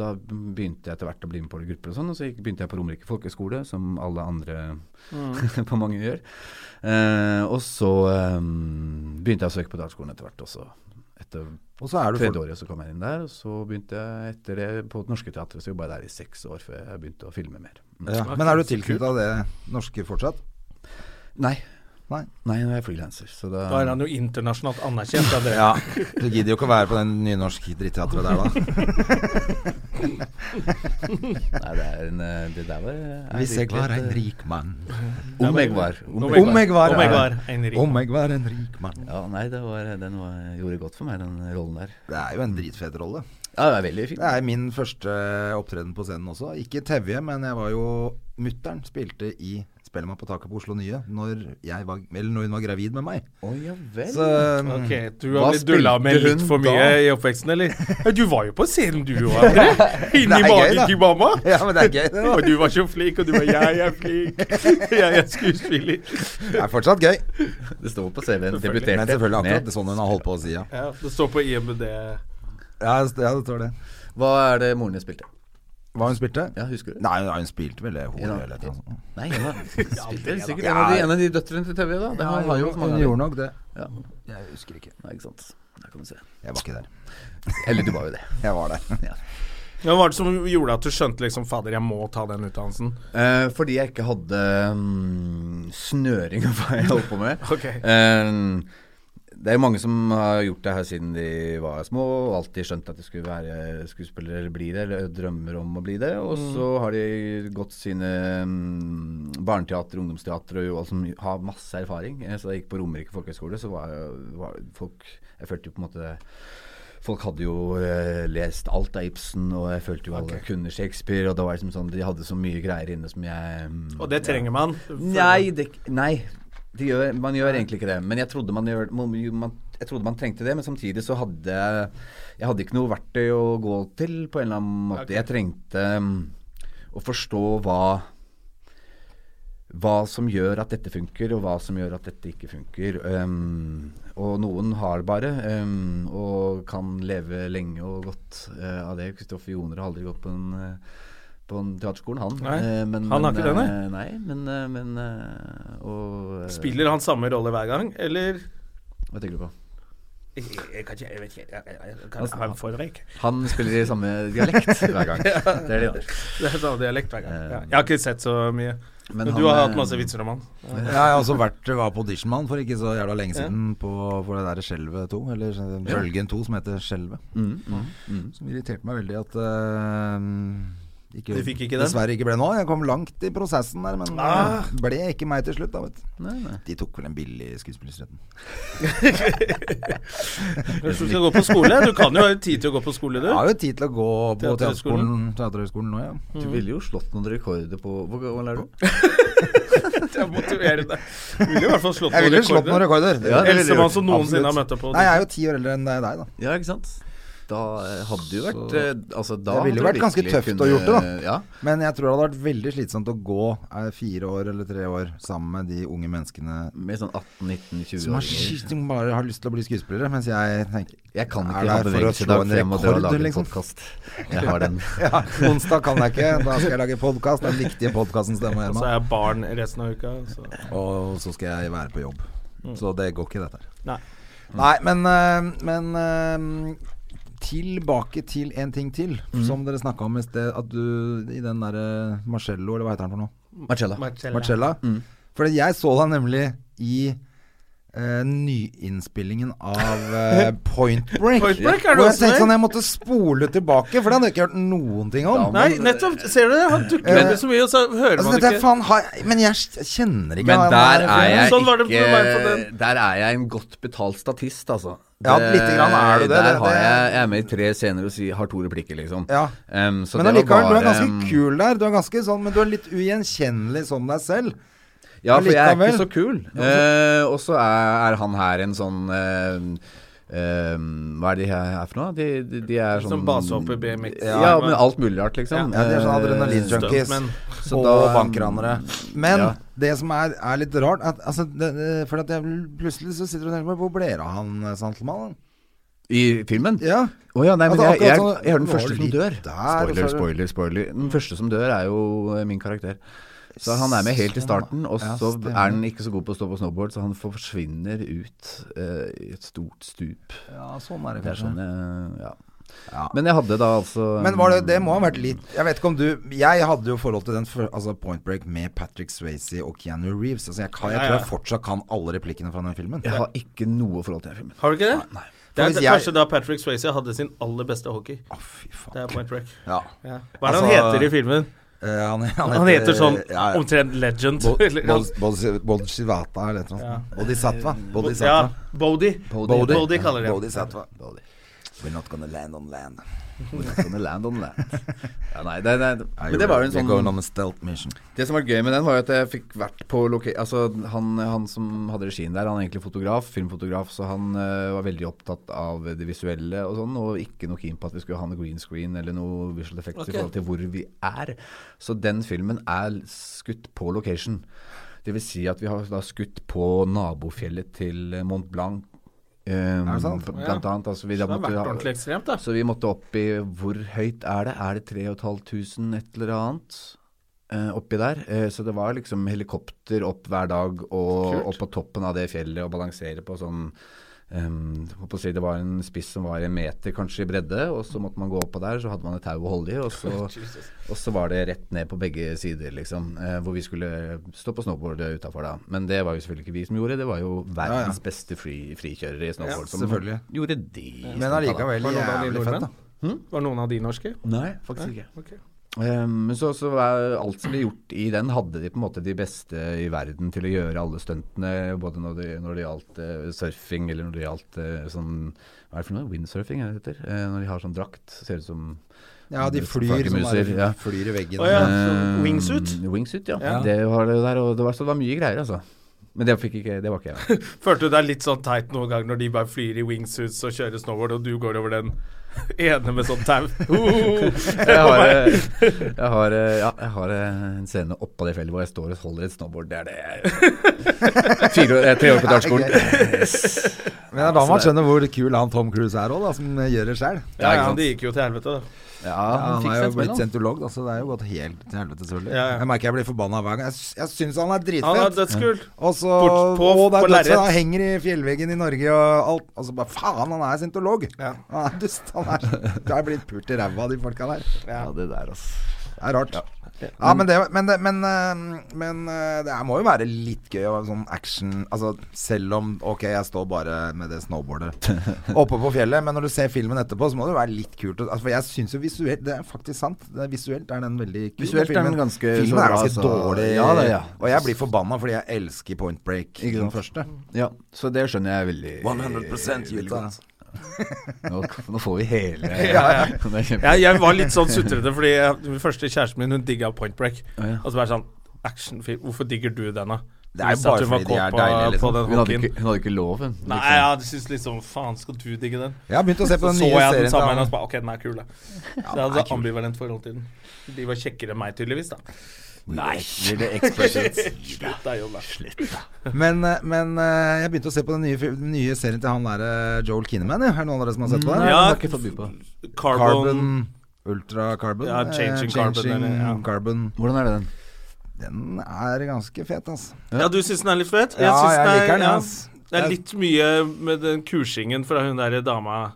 S3: da begynte jeg etter hvert å bli med på grupper og sånn, og så gikk- begynte jeg på Romerike folkehøgskole, som alle andre
S2: Mm.
S3: <laughs> på mange gjør. Eh, og så eh, begynte jeg å søke på dataskolen etter hvert også. Etter
S1: Og så er du
S3: tredje
S1: for...
S3: året så kom jeg inn der, og så begynte jeg etter det på Det Norske Teatret, så jobba jeg der i seks år før jeg begynte å filme mer.
S1: ja. Men er du tilknytta det norske fortsatt?
S3: Nei.
S1: Nei.
S3: Nei, nå er jeg frilanser, så da
S2: Da er han jo internasjonalt anerkjent. Da, dere.
S1: Ja. Du gidder jo ikke å være på den nynorsk dritteatret
S2: <laughs>
S1: der, da.
S3: Nei, det er en eh, Det der var eh,
S1: Hvis jeg
S3: virkelig
S1: var
S3: et,
S1: en
S3: eh,
S1: rik mann
S3: Om jeg var. Om jeg var.
S1: Om jeg var,
S2: Om jeg var en rik.
S1: Om jeg var en rik mann.
S3: Ja, nei, det var, eh, den var, gjorde godt for meg, den rollen der.
S1: Det er jo en dritfet rolle.
S3: Ja, det er veldig fint.
S1: Det er min første opptreden på scenen også. Ikke Tevje, men jeg var jo Mutter'n spilte i Spellemann på taket på Oslo Nye når, jeg var, eller når hun var gravid med meg.
S3: Å ja vel.
S1: Så mm.
S2: Ok, Du
S3: Hva
S2: har blitt dulla
S3: spilte
S2: med litt
S3: hun
S2: for mye
S3: da?
S2: i oppveksten, eller? Ja, du var jo på scenen, du òg, André. Inni
S3: <laughs>
S1: Det er gøy,
S2: magen
S1: da.
S2: til mamma.
S1: Ja, men det er gøy,
S2: <laughs>
S1: det. da.
S2: Og du var så flink, og du var 'jeg er flink', <laughs> 'jeg er skuespiller'.
S1: Det er fortsatt gøy.
S3: Det står på CV-en. Debuterte.
S1: Men selvfølgelig
S3: med-
S1: akkurat sånn hun har holdt på å si, ja.
S2: Ja, det står på IMD.
S1: Ja, det- ja, det står det.
S3: Hva er det moren din spilte?
S1: Hva hun spilte?
S3: Ja, husker du?
S1: Nei, ja, hun spilte vel det hodet
S3: Ja.
S1: eller noe sånt.
S3: Nei,
S1: <laughs>
S3: hun var- spilte sikkert en
S1: Ja.
S3: av de, en av de døtrene til TV, da. Det har- har jo mange
S1: hun
S3: av de.
S1: gjorde nok det.
S3: Ja.
S1: Jeg husker ikke.
S3: Nei, ikke sant. Der kan du se.
S1: Jeg var ikke der.
S3: Eller du var jo det.
S1: Jeg var der.
S2: Ja, Hva var det som gjorde at du skjønte liksom 'fader, jeg må ta den utdannelsen'?
S3: Eh, fordi jeg ikke hadde mm, snøring <laughs> av hva jeg holdt på med.
S2: Ok.
S3: Eh, det er jo mange som har gjort det her siden de var små, og alltid skjønt at de skulle være skuespillere eller bli det, eller drømmer om å bli det. Og så har de gått sine mm, barneteater, ungdomsteater og jo alt som har masse erfaring. Eh, Så da jeg gikk på Romerike folkehøgskole, så var, jeg- var folk Jeg følte jo på en måte Folk hadde jo eh, lest alt av Ibsen, og jeg følte jo alle kunne Shakespeare. Og det var liksom sånn, de hadde så mye greier inne som jeg mm,
S2: Og det trenger man.
S3: Nei, det, nei det gjør, man gjør egentlig ikke det. Men jeg trodde man gjør man, man, jeg jeg trodde man trengte det, men samtidig så hadde jeg- jeg hadde ikke noe verktøy å gå til på en eller annen måte. Jeg trengte mm, å forstå hva hva som gjør at dette funker, og hva som gjør at dette ikke funker. Ehm, og noen har bare, ehm, og kan leve lenge og godt eh, av det. Kristoffer Joner har aldri gått på en, eh, på en teaterskolen, han.
S2: Nei,
S3: Eh, men-
S2: han har
S3: men,
S2: ikke det, nei.
S3: eh, Nei, men, eh, men eh, og, eh,
S2: Spiller han samme rolle hver gang, eller
S3: Hva tenker du på?
S2: Kanskje, jeg vet ikke.
S3: Altså,
S2: Han får det ikke.
S3: Han spiller i samme
S1: <laughs>
S3: dialekt hver gang. Det er det.
S2: <laughs> Det er samme dialekt hver gang. Ja. Jeg har ikke sett så mye. Men,
S3: han,
S2: du har hatt
S3: eh,
S2: masse vitser om han.
S1: Ja, jeg har også vært, var på auditionmann for ikke så jævla lenge siden på, for det der Skjelvet 2, eller Bølgen 2, som heter Skjelvet. Som irriterte meg veldig at eh, ikke,
S2: Du fikk ikke den?
S1: Dessverre ikke ble nå. Jeg kom langt i prosessen der, men
S2: Ah.
S1: eh, ble ikke meg til slutt, da, vet du.
S3: Nei, nei.
S1: De tok vel en billig skuespillersretten.
S2: Hvis du skal gå på skole, du kan jo ha tid til å gå på skole, du.
S1: Jeg har jo tid til å gå på teaterhøgskolen
S2: Teaterhøgskolen.
S1: teaterhøgskolen nå, ja.
S3: Du ville jo slått noen rekorder på Hvor gammel er du?
S2: <laughs>
S1: <laughs>
S2: Jeg motiverer deg. Du ville i hvert fall slått
S1: Jeg
S2: noen
S1: ville slått noen
S2: rekorder.
S1: rekorder.
S3: Ja, det ville
S2: Eldste
S3: jeg
S2: mann
S3: gjort.
S2: som noensinne
S3: Absolutt.
S2: har møtt opp på
S1: Nei, jeg er jo ti år eldre enn deg, da.
S3: Ja, ikke sant? Da eh, hadde det jo vært eh, altså, da
S1: Det ville jo
S3: hadde
S1: vært ganske
S3: virkelig
S1: tøft å gjort det, da.
S3: Ja.
S1: Men jeg tror det hadde vært veldig slitsomt å gå eh, fire år eller tre år sammen med de unge menneskene
S3: Med sånn 18-19-20
S1: som har
S3: åringer.
S1: skitt, som bare har lyst til å bli skuespillere, mens jeg tenker
S3: Jeg kan
S1: er
S3: ikke ha
S1: der for å
S3: bevegelse i
S1: slå
S3: dag,
S1: en
S3: for jeg må dra og
S1: rekord,
S3: lage
S1: liksom.
S3: liksom. podkast. Jeg har den.
S1: <laughs> Ja, onsdag kan jeg ikke, da skal jeg lage podkast. Den viktige podkasten stemmer
S2: Og så
S1: hjemme.
S2: er jeg barn resten av uka. Så.
S1: Og så skal jeg være på jobb. Så det går ikke, dette her.
S2: Mm. Nei.
S1: Nei, men, eh, men eh, Tilbake til en ting til,
S2: Mm.
S1: som dere snakka om i sted. At du i den derre Marcello, eller hva heter han for noe?
S3: Marcella.
S1: Marcella.
S2: Mm.
S1: Fordi jeg så deg nemlig i eh, nyinnspillingen
S2: <laughs>
S1: av eh, Point Break.
S2: Point Break er du
S1: Og jeg
S2: også
S1: tenkte
S2: der?
S1: sånn, jeg måtte spole tilbake, for det hadde jeg ikke hørt noen ting om.
S3: Da må-
S2: Nei, nettopp. Ser du det? Han dukker
S1: Eh,
S2: ikke så mye, og så hører
S1: Altså,
S2: man
S1: dette
S2: det
S1: er
S2: ikke.
S1: faen, har, men jeg s- kjenner ikke
S3: Men
S1: han
S3: der er jeg
S2: Sånn var det for meg på
S3: ikke
S2: den.
S3: Der er jeg en godt betalt statist, altså.
S1: Ja, lite grann er du det,
S3: Der
S1: det-
S3: har
S1: det-
S3: jeg, jeg er med i tre scener og si, har to replikker, liksom.
S1: Ja.
S3: Em, så
S1: Men
S3: det var
S1: allikevel, du er
S3: bare,
S1: ganske
S3: em,
S1: kul der. Du er ganske sånn, men du er litt ugjenkjennelig som deg selv.
S3: Ja, for jeg er
S1: Likevel.
S3: ikke så kul. Eh, og så er, er han her en sånn eh, eh, Hva er de her er for noe? De, de, de er sånn
S2: Sånn basehopper, BMX.
S3: Ja, men alt mulig rart, liksom.
S1: Ja, de er sånn
S3: Eh,
S1: adrenalinjunkies
S2: Stuntmen.
S3: Så
S1: og
S3: da-
S1: bankranere. Men
S3: Ja. det
S1: det som er, er litt rart at, altså, det, det- For at jeg plutselig så sitter du og tenker på Hvor ble det av han eh, Santelmann?
S3: Eh, I filmen? Å
S1: Ja.
S3: ja, nei, men
S1: Altså,
S3: jeg, jeg,
S1: akkurat sånn-
S3: jeg er den
S1: nå
S3: første
S1: har du
S3: som
S1: litt
S3: dør.
S1: der, og så er
S3: spoiler,
S1: det-
S3: spoiler, spoiler. Den første som dør, er jo eh, min karakter. Så han er med helt i starten, og
S1: Ja,
S3: så
S1: stemmer.
S3: er han ikke så god på å stå på snowboard, så han forsvinner ut eh, i et stort stup.
S1: Ja, sånn er
S3: Det er sånn, eh, ja.
S1: Ja.
S3: Men jeg hadde da altså
S1: Men var det, det må ha vært litt Jeg vet ikke om du Jeg hadde jo forhold til den før- altså Point Break med Patrick Swayze og Keanu Reeves. Altså jeg, kan, jeg
S2: Ja,
S1: tror
S2: ja.
S1: jeg fortsatt kan alle replikkene fra den filmen.
S3: Jeg har ikke noe forhold til den filmen.
S2: Har du ikke det? Nei. Det
S1: For
S2: er
S1: hvis
S2: det
S1: jeg-
S2: kanskje da Patrick Swayze hadde sin aller beste hockey.
S1: Å, fy
S2: Det
S1: faen.
S2: er Point Break.
S1: Ja.
S2: Ja. Hva er det
S1: Altså-
S2: han heter i filmen?
S1: Eh, han,
S2: Han heter sånn
S1: ja, ja.
S2: omtrent Legend.
S1: Bo-
S2: <laughs> eller-
S1: Bod- Bod- Bodhisatva eller et eller annet. Bodhisattva.
S2: Ja,
S1: Bodhisattva.
S2: Bodhi.
S3: Bodhi.
S2: Bodhi kaller de ham.
S1: Bodhisattva. We're not gonna land on land.
S3: On the land,
S1: <laughs>
S3: on the land. Ja, nei, det, nei, det- men det var jo en
S1: We're going
S3: sånn
S1: on a stealth mission.
S3: Det som var gøy med den, var jo at jeg fikk vært på loka... Altså, han, han som hadde regien der, han er egentlig fotograf, filmfotograf, så han eh, var veldig opptatt av det visuelle og sånn, og ikke noe keen på at vi skulle ha noe green screen eller noe visual effects i forhold til hvor vi er. Så den filmen er skutt på location. Det vil si at vi har da skutt på nabofjellet til eh, Mont Blanc. Um,
S1: det sant?
S3: Blant annet. Altså, vi,
S2: Det
S3: da
S2: har vært
S3: måtte ha-
S2: ordentlig ekstremt, da.
S3: så vi måtte opp i Hvor høyt er det? Er det 3500 et eller annet? eh, oppi der. Eh, så det var liksom helikopter opp hver dag og opp på toppen av det fjellet og balansere på sånn ehm, jeg holdt på å si Det var en spiss som var en meter kanskje i bredde, og så måtte man gå oppå der. Så hadde man et tau å holde i, og
S1: <laughs>
S3: så,
S1: Oh,
S3: og så var det rett ned på begge sider, liksom. eh, hvor vi skulle stå på snowboard utafor da. Men det var jo selvfølgelig ikke vi som gjorde, det var jo verdens beste fri, frikjørere i snowboard som
S1: selvfølgelig.
S3: gjorde de.
S1: Men allikevel
S2: Var noen av de
S1: jævlig fett, da.
S2: nordmenn? Var noen av de norske?
S3: Nei, faktisk ikke.
S2: Ok.
S3: Eh, Men så, så er alt som ble gjort i den, hadde de på en måte de beste i verden til å gjøre alle stuntene, både når det, når det gjaldt eh, surfing, eller når det gjaldt eh, sånn Hva er det for noe? Windsurfing, er det det heter? Eh, når de har sånn drakt, ser ut som
S1: Ja, de flyr, som
S3: flaggermuser,
S1: er,
S3: ja.
S1: flyr i veggen.
S2: Å ja, så
S3: Eh,
S2: wingsuit.
S3: Wingsuit, ja. Det var det der, og det var, så det var mye greier, altså. Men det, fikk ikke, det var ikke jeg.
S2: Følte du deg litt sånn teit noen gang når de bare flyr i wingsuits og kjører snowboard, og du går over den <laughs> ene med sånn <laughs> tau?
S3: Jeg har, eh, jeg har, eh, ja, jeg har eh, en scene oppå det fellet hvor jeg står og holder et snowboard. Det er det jeg Fire år, eh, Tre år på dartskolen. Yes.
S1: Men det er da man skjønner hvor kul han Tom Cruise er òg, som gjør det sjøl.
S2: ja,
S3: ikke
S2: ja,
S3: sant.
S2: det gikk jo til helvete, da.
S3: Ja,
S1: Ja, han
S3: fikk
S1: er
S3: seg
S1: jo
S3: et
S1: blitt
S3: smell, da.
S1: sentolog, da, så det er jo gått helt til helvete, selvfølgelig.
S2: Ja, ja.
S1: Jeg merker jeg blir forbanna hver gang. Jeg, s- jeg syns han er
S2: Han er
S1: dritfett.
S2: dødskul.
S1: Og så
S2: Bort- på-
S1: og Altså, det er
S2: på
S1: dødsfett,
S2: lerret.
S1: Han henger i fjellveggen i Norge og alt. Og så bare faen, han er sentolog! Han er dust.
S2: <laughs>
S1: Han er, det er blitt pult i ræva av de folka der.
S3: Ja, det der, altså.
S1: Det er rart. Ja, men, det, men, det, men, eh, men eh, det er- må jo være litt gøy å ha sånn action Altså selv om Ok, jeg står bare med det
S3: <laughs>
S1: snowboardet oppe på fjellet, men når du ser filmen etterpå, så må det jo være litt kult. å- Altså, for jeg syns jo visuelt Det er faktisk sant. Det er visuelt er den veldig kul.
S3: Visuelt er den
S1: filmen.
S3: ganske så
S1: Filmen er
S3: bra,
S1: ganske
S3: så-
S1: dårlig.
S3: Ja, det- ja.
S1: Og jeg blir forbanna fordi jeg elsker Point Break.
S3: Ikke sant.
S1: Den første.
S3: Ja, så det skjønner jeg veldig veldig
S1: Utah.
S3: godt. Nå, nå får vi hele Det er kjempe-
S2: Jeg, jeg var litt sånn sutrete, fordi jeg, den første kjæresten min hun digga Point Break.
S3: ja.
S2: Og så bare sånn Actionfilm, hvorfor digger du den, da?
S1: Det er
S2: Hvis at
S1: bare
S2: hun var
S1: fordi de er
S2: kåt på-
S1: deilige, liksom.
S2: på den
S3: Hun, hadde
S2: hockeyen.
S3: ikke, hun hadde ikke lov, hun.
S2: Nei,
S3: liksom.
S2: jeg syns liksom Faen, skal du digge den?
S1: Jeg har begynt å se på
S2: Så
S1: den
S2: så
S1: nye
S2: jeg den
S1: serien. til
S2: sammen og
S1: han-
S2: så bare OK, den er kul, da. Så jeg hadde ambivalent forhold til den. De var kjekkere enn meg, tydeligvis, da.
S3: Liksom. Nei.
S2: <laughs> Slutt da, Jon, da.
S1: Men, eh, men eh, jeg begynte å se på den nye, fi- den nye serien til han der eh, Joel Kinnaman. ja. Er det noen av dere som har sett på den?
S2: Ja,
S3: Ja, ikke forbi på.
S2: Carbon
S1: Carbon Ultra Carbon.
S2: Ja,
S1: eh,
S2: Changing Carbon, eller- ja.
S1: Carbon.
S3: Hvordan er det den?
S1: Den er ganske fet, altså.
S2: Ja, du syns den er litt fet?
S1: Ja,
S2: syns
S1: jeg liker den,
S2: ja.
S1: ass.
S2: Det er litt mye med den kursingen fra hun derre dama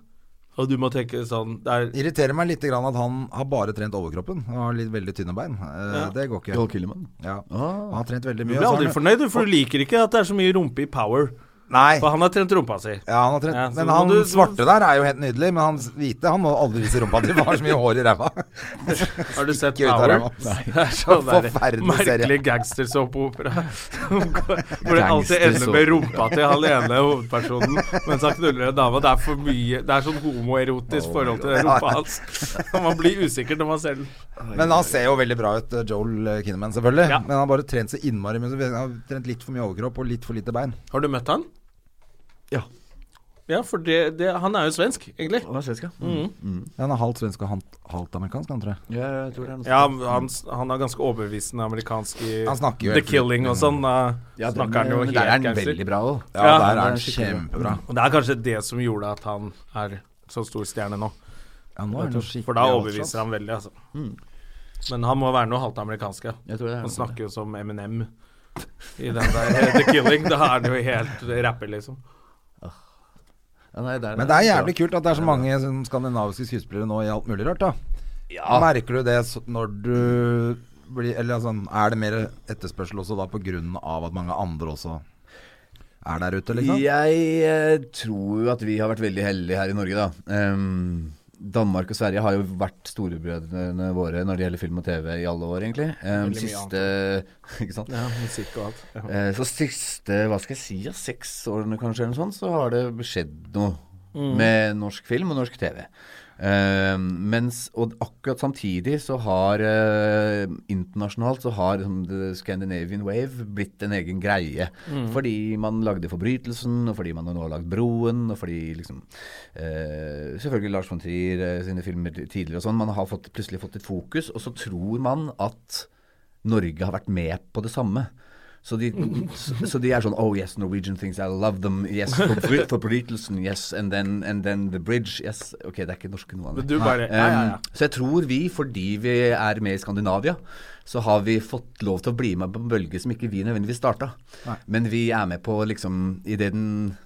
S2: Og du må tenke sånn Det er
S1: Irriterer meg litt grann at han har bare trent overkroppen og har litt veldig tynne bein. Eh,
S2: Ja.
S1: Det går ikke.
S3: Joel Killemann?
S1: Ja. Han
S3: Ah.
S1: har trent veldig
S2: Du
S1: mye.
S2: blir
S1: altså. og så har
S2: aldri
S1: han-
S2: fornøyd, du, for du liker ikke at det er så mye rumpe i Power.
S1: Nei.
S2: For han har trent rumpa si.
S1: Ja, han har trent.
S2: Ja, så
S1: men
S2: må
S1: han
S2: du-
S1: svarte der er jo helt nydelig, men han hvite han må aldri vise rumpa til. for Han har så mye hår i ræva.
S2: Har du sett
S1: Ikke ut av
S2: Power?
S1: ræva. Nei.
S2: Det er sånn der
S1: Forferdelig serie.
S2: merkelig <laughs> gangstersåpeopera. Hvor det alltid ender med
S3: Gangstersåpe.
S2: rumpa til han ene hovedpersonen mens han knuller en dame. Det er for mye Det er sånn homoerotisk forhold til rumpa hans. Man blir usikker når man ser den.
S1: Men han ser jo veldig bra ut, eh, Joel Kinnaman, selvfølgelig.
S2: Ja.
S1: Men han har bare trent så innmari mye. så Han har trent litt for mye overkropp og litt for lite bein.
S2: Har du møtt han?
S3: Ja.
S2: Ja, for det, det Han er jo svensk, egentlig.
S3: Hva er svenska?
S1: Han er halvt svensk og halvt- halvt amerikansk, han tror jeg.
S3: Ja, jeg tror det er noe
S2: Ja, han, han er ganske overbevisende amerikansk i
S1: Han snakker jo
S2: The
S1: helt-
S2: Killing og sånn. Da
S3: Ja, den-
S2: snakker han jo
S3: men
S2: helt
S3: Der er den
S2: gangster.
S3: veldig bra òg.
S1: Ja,
S2: Ja.
S1: der er
S3: Den
S1: han
S3: er skikkelig
S1: kjempebra.
S2: Og det er kanskje det som gjorde at han er så stor stjerne nå.
S1: Ja, nå er det skikkelig
S2: For da overbeviser han veldig, altså. Men han må være noe halvt amerikansk. ja.
S3: Mm. Jeg tror det er
S2: Han
S3: noe sånt.
S2: snakker jo som Eminem i den der eh, The Killing. Da er han jo helt rapper, liksom.
S3: Ja, nei, der,
S1: Men det er jævlig kult at det er så mange sånn skandinaviske skuespillere nå i alt mulig rart, da. Merker du det så- når du blir Eller sånn, er det mer etterspørsel også da på grunn av at mange andre også er der ute, liksom?
S3: Jeg eh, tror jo at vi har vært veldig heldige her i Norge, da. Ehm, Danmark og Sverige har jo vært storebrødrene våre når det gjelder film og TV i alle år, egentlig. Ehm,
S2: Veldig mye
S3: siste <laughs> Ikke sant?
S2: Ja, musikk og alt. Ja.
S3: Eh, Så siste hva skal jeg si, ja, seks årene kanskje, eller noe sånt, så har det skjedd noe med norsk film og norsk TV. Eh, mens, og akkurat samtidig så har eh, internasjonalt så har liksom, The Scandinavian Wave blitt en egen greie. Fordi man lagde 'Forbrytelsen', og fordi man nå har lagd 'Broen', og fordi liksom eh, Selvfølgelig Lars von Trier eh, sine filmer tidligere og sånn. Man har fått, plutselig fått et fokus, og så tror man at Norge har vært med på det samme. Så de, så, så de er sånn Oh yes, Norwegian things, I love them. Yes, forbry- forbrytelsen. Yes, and then, and then the bridge. Yes. Ok, det er ikke norske noe annet.
S2: Men du bare Ja, ja, ja.
S3: Um, Så jeg tror vi, fordi vi er med i Skandinavia, så har vi fått lov til å bli med på en bølge som ikke vi nødvendigvis starta. Men vi er med på liksom i det den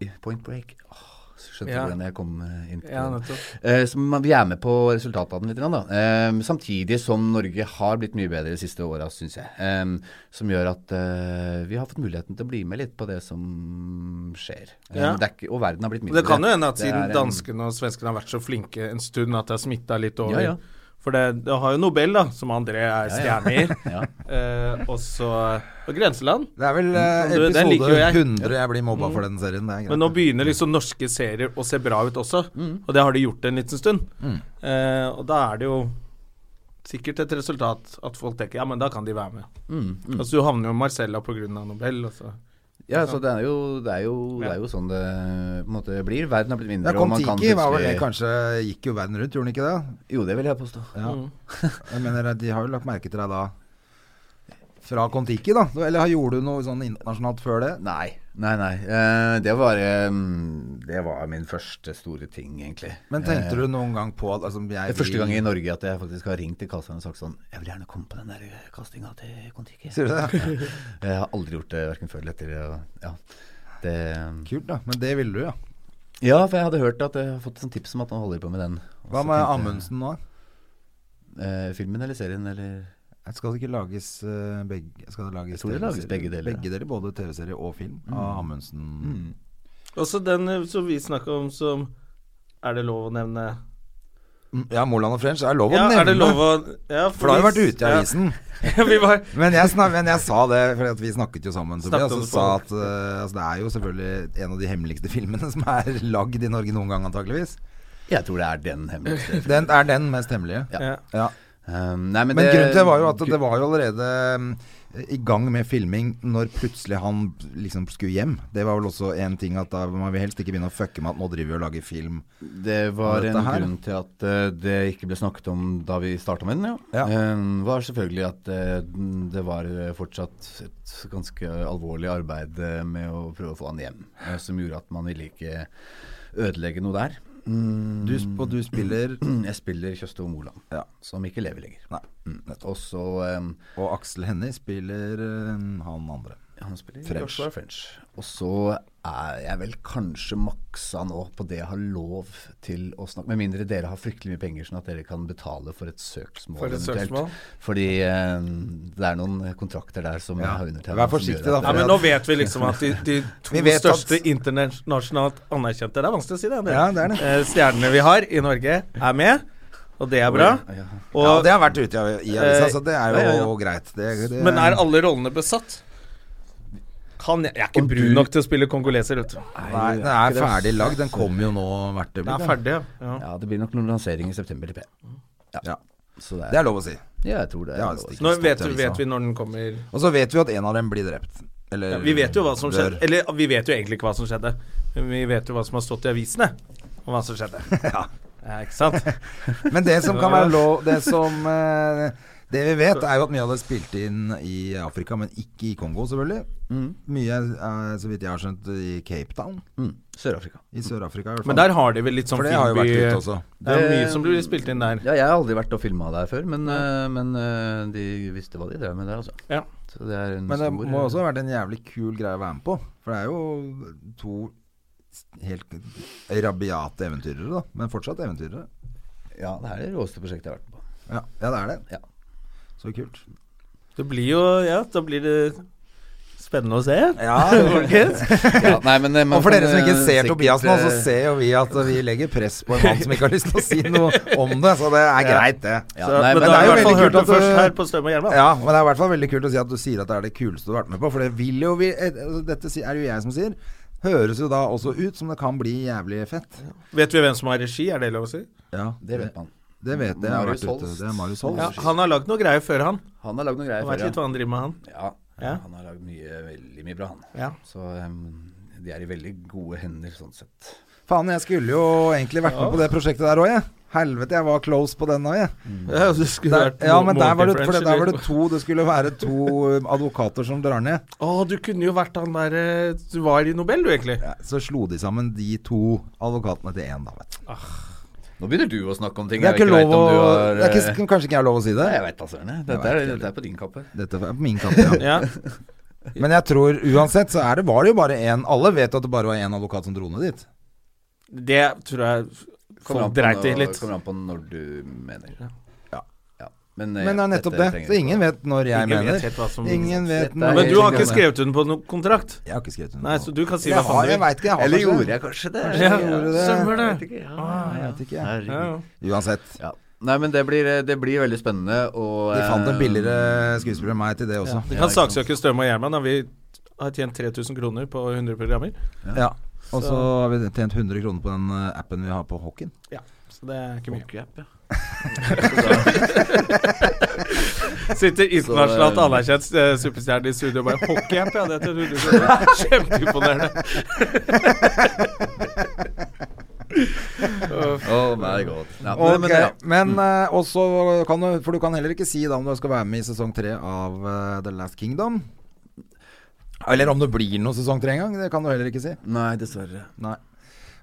S3: i Point break. Åh, så skjønte du
S2: Ja.
S3: hvordan jeg kom eh, inn på
S2: Ja,
S3: det.
S2: nettopp.
S3: Eh, så man, vi er med på resultatet av den litt, grann, da. Eh, samtidig som Norge har blitt mye bedre de siste åra, syns jeg. Eh, som gjør at eh, vi har fått muligheten til å bli med litt på det som skjer. Eh,
S2: Ja.
S3: det er ikke, og verden har blitt mindre.
S2: Det kan jo hende at
S3: Det er
S2: siden
S3: en-
S2: danskene og svenskene har vært så flinke en stund, at det har smitta litt over.
S3: Ja, ja.
S2: For det, det har jo Nobel, da, som André er
S3: Ja, ja.
S2: stjerne i.
S3: <laughs> Ja.
S2: Eh, og så og Grenseland.
S1: Det er vel eh,
S2: Du, Mm. den liker jo
S1: episode
S2: jeg. Mm.
S1: 100 jeg blir mobba for den serien. Det er
S2: Men
S1: greit.
S2: nå begynner liksom norske serier å
S1: Mm.
S2: se bra ut også, og det har de gjort en liten stund. Eh, og da er det jo sikkert et resultat at folk tenker ja, men da kan de være med.
S1: Mm,
S2: Altså Du havner jo i Marcella pga. Nobel. Altså.
S3: Ja, så det er jo, det er jo, det er jo sånn det på en måte blir. Verden har blitt mindre,
S1: Da kom
S3: og man kan
S1: Tiki, var vel det
S3: plutselig-
S1: kanskje Gikk jo verden rundt, gjorde han ikke det?
S3: Jo, det vil jeg påstå.
S1: Ja.
S2: Mm.
S1: <laughs> Jeg mener, de har jo lagt merke til deg da fra Kon-Tiki, da. Eller har- gjorde du noe sånn internasjonalt før det?
S3: Nei, nei, nei. Eh, det var eh, Det var min første store ting, egentlig.
S1: Men tenkte du noen gang på at altså,
S3: Eh. Det
S1: jeg
S3: er første
S1: vil-
S3: gang i Norge at jeg faktisk har ringt til Karlsheim og sagt sånn Jeg vil gjerne komme på den der castinga til Kon-Tiki.
S1: Sier du det?
S3: Jeg har aldri gjort det verken før eller etter. og- Ja. Det,
S1: Kult, da. Men det ville du, ja.
S3: ja, for jeg hadde hørt at jeg har fått sånn tips om at han holder på med den. Og
S1: Hva
S3: så
S1: med
S3: tenkte jeg,
S1: Amundsen nå?
S3: Eh, filmen eller serien eller
S1: Skal det ikke lages eh, begge skal det lages
S3: Jeg tror det lages
S1: TV-serier?
S3: begge deler, Mm. ja.
S1: Begge deler, Både TV-serie og film av Amundsen.
S2: Også den eh, som vi snakka om som Er det lov å nevne
S1: Mm, Ja, Moland og French er lov å
S2: Ja,
S1: nevne.
S2: er det lov å ja,
S1: For da har det vært
S2: vi-
S1: ute i avisen.
S2: Ja, <laughs> vi var
S1: Men jeg, snak, men jeg sa det, for at vi snakket jo sammen. Tobias,
S2: Snakket om
S1: og
S2: det
S1: sa at eh, altså, Det er jo selvfølgelig en av de hemmeligste <laughs> filmene som er lagd i Norge noen gang, antakeligvis.
S3: Jeg tror det er den
S1: <laughs>
S3: hemmeligste.
S1: Den er den mest hemmelige.
S3: Ja.
S2: ja.
S1: Ja.
S3: Um, nei, men
S1: Men
S3: det-
S1: grunnen til det var jo at det var jo allerede mm, i gang med filming når plutselig han liksom skulle hjem. Det var vel også en ting at da man vil helst ikke begynne å fucke med at nå driver vi og lager film.
S3: Det var en
S1: Dette her.
S3: grunn til at eh, det ikke ble snakket om da vi starta med den, ja.
S1: Ja.
S3: Eh, var selvfølgelig at eh, det var eh, fortsatt et ganske alvorlig arbeid eh, med å prøve å få han hjem, eh, som gjorde at man ville ikke ødelegge noe der. Mm,
S1: Du, sp- og du spiller
S3: <clears throat> jeg spiller Kjøsto Moland,
S1: Ja.
S3: som ikke lever lenger.
S1: <clears throat> Nei.
S3: Mm. Og så eh,
S1: Og Aksel Hennie spiller eh, han andre.
S3: Han spiller
S1: French.
S3: Joshua French. Og så er jeg vel kanskje maksa nå på det jeg har lov til å snakke Med mindre dere har fryktelig mye penger, sånn at dere kan betale for et søksmål.
S2: For et
S3: eventuelt.
S2: søksmål?
S3: Fordi eh, det er noen kontrakter der som jeg har undertegnet.
S1: Vær
S3: som
S1: forsiktig
S3: gjør at
S2: Ja,
S1: da,
S3: dere-
S2: men nå vet vi liksom at de, de
S1: <laughs> Vi
S2: to
S1: vet at-
S2: største internasjonalt anerkjente Det er vanskelig å si det. det.
S1: Ja, det er det.
S2: Eh, stjernene vi har i Norge, er med, og det er bra. Og,
S1: Ja, det har vært ute i, i avisa,
S2: Eh,
S1: så det er jo
S2: ja, ja, ja.
S1: greit. Det, det,
S2: men er alle rollene besatt? Kan jeg, jeg er ikke
S3: Om
S2: brun
S3: du-
S2: nok til å spille kongoleser, vet du.
S1: Nei, den er ferdig lagd. Den kommer jo nå hvert
S2: Den er
S1: øyeblikk.
S2: ferdig, ja.
S3: Ja, det blir nok noen lansering i september, tipper jeg.
S1: Ja.
S3: Så det
S1: Det
S3: er,
S1: er lov å si.
S3: ja, jeg tror det.
S1: Ja,
S3: er
S1: det
S3: lov å si.
S2: Nå vet,
S1: Stått i
S2: vi-
S1: avisa.
S2: vet vi når den kommer
S1: Og så vet vi at en av dem blir drept. Eller
S2: Vi vet jo hva som
S1: dør.
S2: skjedde. Eller vi vet jo egentlig ikke hva som skjedde. Men Vi vet jo hva som har stått i avisene om hva som skjedde.
S1: <laughs>
S2: Ja, ikke sant?
S1: Men det som kan være lov Det som eh, Det vi vet, er jo at mye av det er spilt inn i Afrika, men ikke i Kongo, selvfølgelig.
S2: Mm.
S1: Mye er, er, så vidt jeg har skjønt, i Cape Town.
S3: Mm, Sør-Afrika.
S1: I Sør-Afrika, i hvert fall.
S2: Men der har de vel litt sånn
S1: For det har jo vært
S2: filmby-
S1: ute også.
S2: Det er mye
S3: Det-
S2: som blir spilt inn der.
S3: Ja, jeg har aldri vært og filma der før, men, eh, men eh, de visste hva de drev med der, altså.
S2: Ja.
S3: Så det er en
S1: Men det
S3: stor
S1: må også ha vært en jævlig kul greie å være med på. For det er jo to s- helt rabiate eventyrere, da. Men fortsatt eventyrere.
S3: Ja, det er det råeste prosjektet jeg har vært med på.
S1: Ja, ja det er det.
S3: Ja.
S1: Så kult.
S2: Det blir jo Ja, da blir det spennende å se.
S1: <laughs>
S3: Ja, nei, men, eh, man
S1: Og for
S3: kan,
S1: dere som ikke
S3: eh,
S1: ser
S3: sikkert,
S1: Tobias nå, så
S3: eh,
S1: ser jo vi at vi legger press på en mann som ikke har lyst til å si noe om det. Så det <laughs> er greit, det.
S3: ja,
S2: Så,
S3: nei,
S2: men,
S3: men
S2: da
S1: det
S2: har vi i
S1: er jo
S2: hvert fall
S1: veldig
S2: hørt
S1: kult
S2: det
S1: at
S2: først
S1: du-
S2: her på Støm og Hjelma.
S1: Ja, men det er i hvert fall veldig kult å si at du sier at det er det kuleste du har vært med på. For det vil jo vi eh, altså, Dette si- er det jo jeg som sier. Høres jo da også ut som det kan bli jævlig fett.
S2: Vet vi hvem som har regi, er det lov å si?
S1: Ja,
S3: Det vet man.
S1: Det vet jeg. jeg har
S3: Marius
S1: vært ute.
S3: Holst.
S1: Det er Marius Holst.
S2: Ja, han har lagd noe greier før, han.
S3: Han har lagd noen
S2: Jeg
S3: greier
S2: vet litt
S3: før,
S2: hva han driver med, han.
S3: ja. ja.
S2: Ja.
S3: Han har lagd mye, veldig mye bra, han.
S2: Ja.
S3: Så eh, de er i veldig gode hender, sånn sett.
S1: Faen, jeg skulle jo egentlig vært med på det prosjektet der òg, jeg. Helvete, jeg var close på den òg, jeg.
S2: Ja, det skulle
S1: Der,
S2: vært
S1: ja,
S2: Mo-
S1: men der var, det,
S2: Morgan
S1: for
S2: French,
S1: der var
S2: eller-
S1: det to Det skulle være to eh, advokater som drar ned.
S2: Å, du kunne jo vært han der eh, Du var i Nobel, du, egentlig.
S1: Ja, Så slo de sammen de to advokatene til én, da, vet du.
S3: Nå begynner du å snakke om ting
S1: Det er
S3: jeg
S1: ikke
S3: ikke vet
S1: lov å
S3: om du har
S1: det er
S3: eh,
S1: ikke, Kanskje ikke jeg har lov å si det?
S3: Nei, jeg veit da søren. jeg. Dette,
S1: Jeg
S3: er-
S1: vet ikke.
S3: dette er på din kappe.
S1: Dette er på min kant, ja.
S2: Ja.
S1: Men jeg tror uansett så er det, var det jo bare én Alle vet at det bare var én advokat som dro ned dit.
S2: Det tror jeg folk
S3: på
S2: dreit i
S3: når-
S2: litt.
S3: kommer an på når du mener.
S1: Ja.
S3: Ja. Men, eh,
S1: Men det er
S3: dette
S1: nettopp det.
S3: trenger
S1: Så
S3: vi
S1: ingen
S3: ikke-
S1: vet når jeg
S2: Ingen vet
S1: mener.
S2: helt hva som-
S1: Ingen vet
S3: Dette
S1: når
S3: er-
S2: Men
S1: jeg
S2: du har
S1: mener.
S2: ikke skrevet under på noen kontrakt?
S1: Jeg har ikke skrevet under.
S2: Nei, så du kan si
S1: jeg
S2: hva
S1: har,
S2: faen du
S1: jeg
S2: vil.
S1: veit ikke. Jeg har
S3: Eller
S1: ikke det.
S3: gjorde jeg kanskje det?
S2: Ja,
S1: gjorde det.
S2: stemmer det.
S3: Vet ikke, ja,
S1: Ah, Jeg vet ikke, jeg.
S2: Ja,
S3: Herregud.
S2: ja.
S1: Uansett.
S3: Ja. Nei, men det blir, eh, det blir veldig spennende. Og,
S1: De fant en
S3: eh, <laughs>
S1: billigere <laughs> skuespiller enn meg til det også.
S2: Vi
S3: Ja,
S2: kan
S3: ikke sant.
S2: saksøke Støme og Gjerman da vi har tjent 3000 kroner på 100 programmer.
S1: Ja. Og så har vi tjent 100 kroner på den eh, appen vi har på hockeyen.
S2: Ja, så det er ikke mye.
S4: Hockeyapp, ja.
S2: Sitter internasjonalt anerkjent eh, superstjerne i studio og bare Hockeyapp, ja. Det heter Rune Solberg. Kjempeimponerende.
S3: Oh my god. Ja,
S1: Ok,
S3: men- men, ja.
S1: Men eh, også kan du For du kan heller ikke si da om du skal være med i sesong tre av eh, The Last Kingdom. Eller om det blir noe sesong tre engang. Det kan du heller ikke si.
S3: Nei, dessverre.
S1: Nei.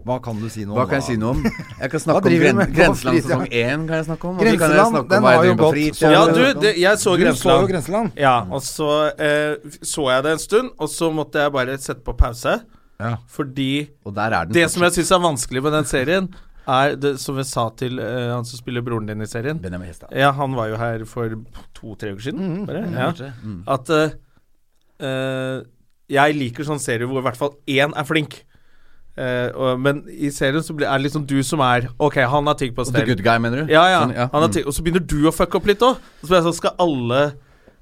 S1: Hva kan du si nå?
S3: Hva kan jeg
S1: da?
S3: si noe om? Jeg kan
S1: Hva
S3: snakke om
S1: driver du
S3: gren
S1: med på
S3: Grenseland
S1: fritida?
S3: sesong 1. Kan jeg snakke om?
S1: Grenseland, den har jo gått sånn-
S2: Ja, du, det, jeg så
S1: Du så jo
S2: Grenseland.
S1: Grenseland.
S2: Ja, og så eh, så jeg det en stund, og så måtte jeg bare sette på pause.
S1: Ja.
S2: Fordi
S3: Og der er den
S2: det som jeg syns er vanskelig med den serien, er det som jeg sa til eh, han som spiller broren din i serien
S3: Benjamin Hestad.
S2: Ja, han var jo her for to-tre uker siden, bare. Ja. At eh, eh, jeg liker sånne serier hvor i hvert fall én er flink. Eh, og, men i serien så blir, er det liksom du som er Ok, han har ting på
S3: The
S2: stell.
S3: Good Guy, mener du?
S2: Ja, ja.
S3: Sånn,
S2: Han har
S3: Mm.
S2: ting, og så begynner du å fucke opp litt òg. Og så blir jeg sånn, skal alle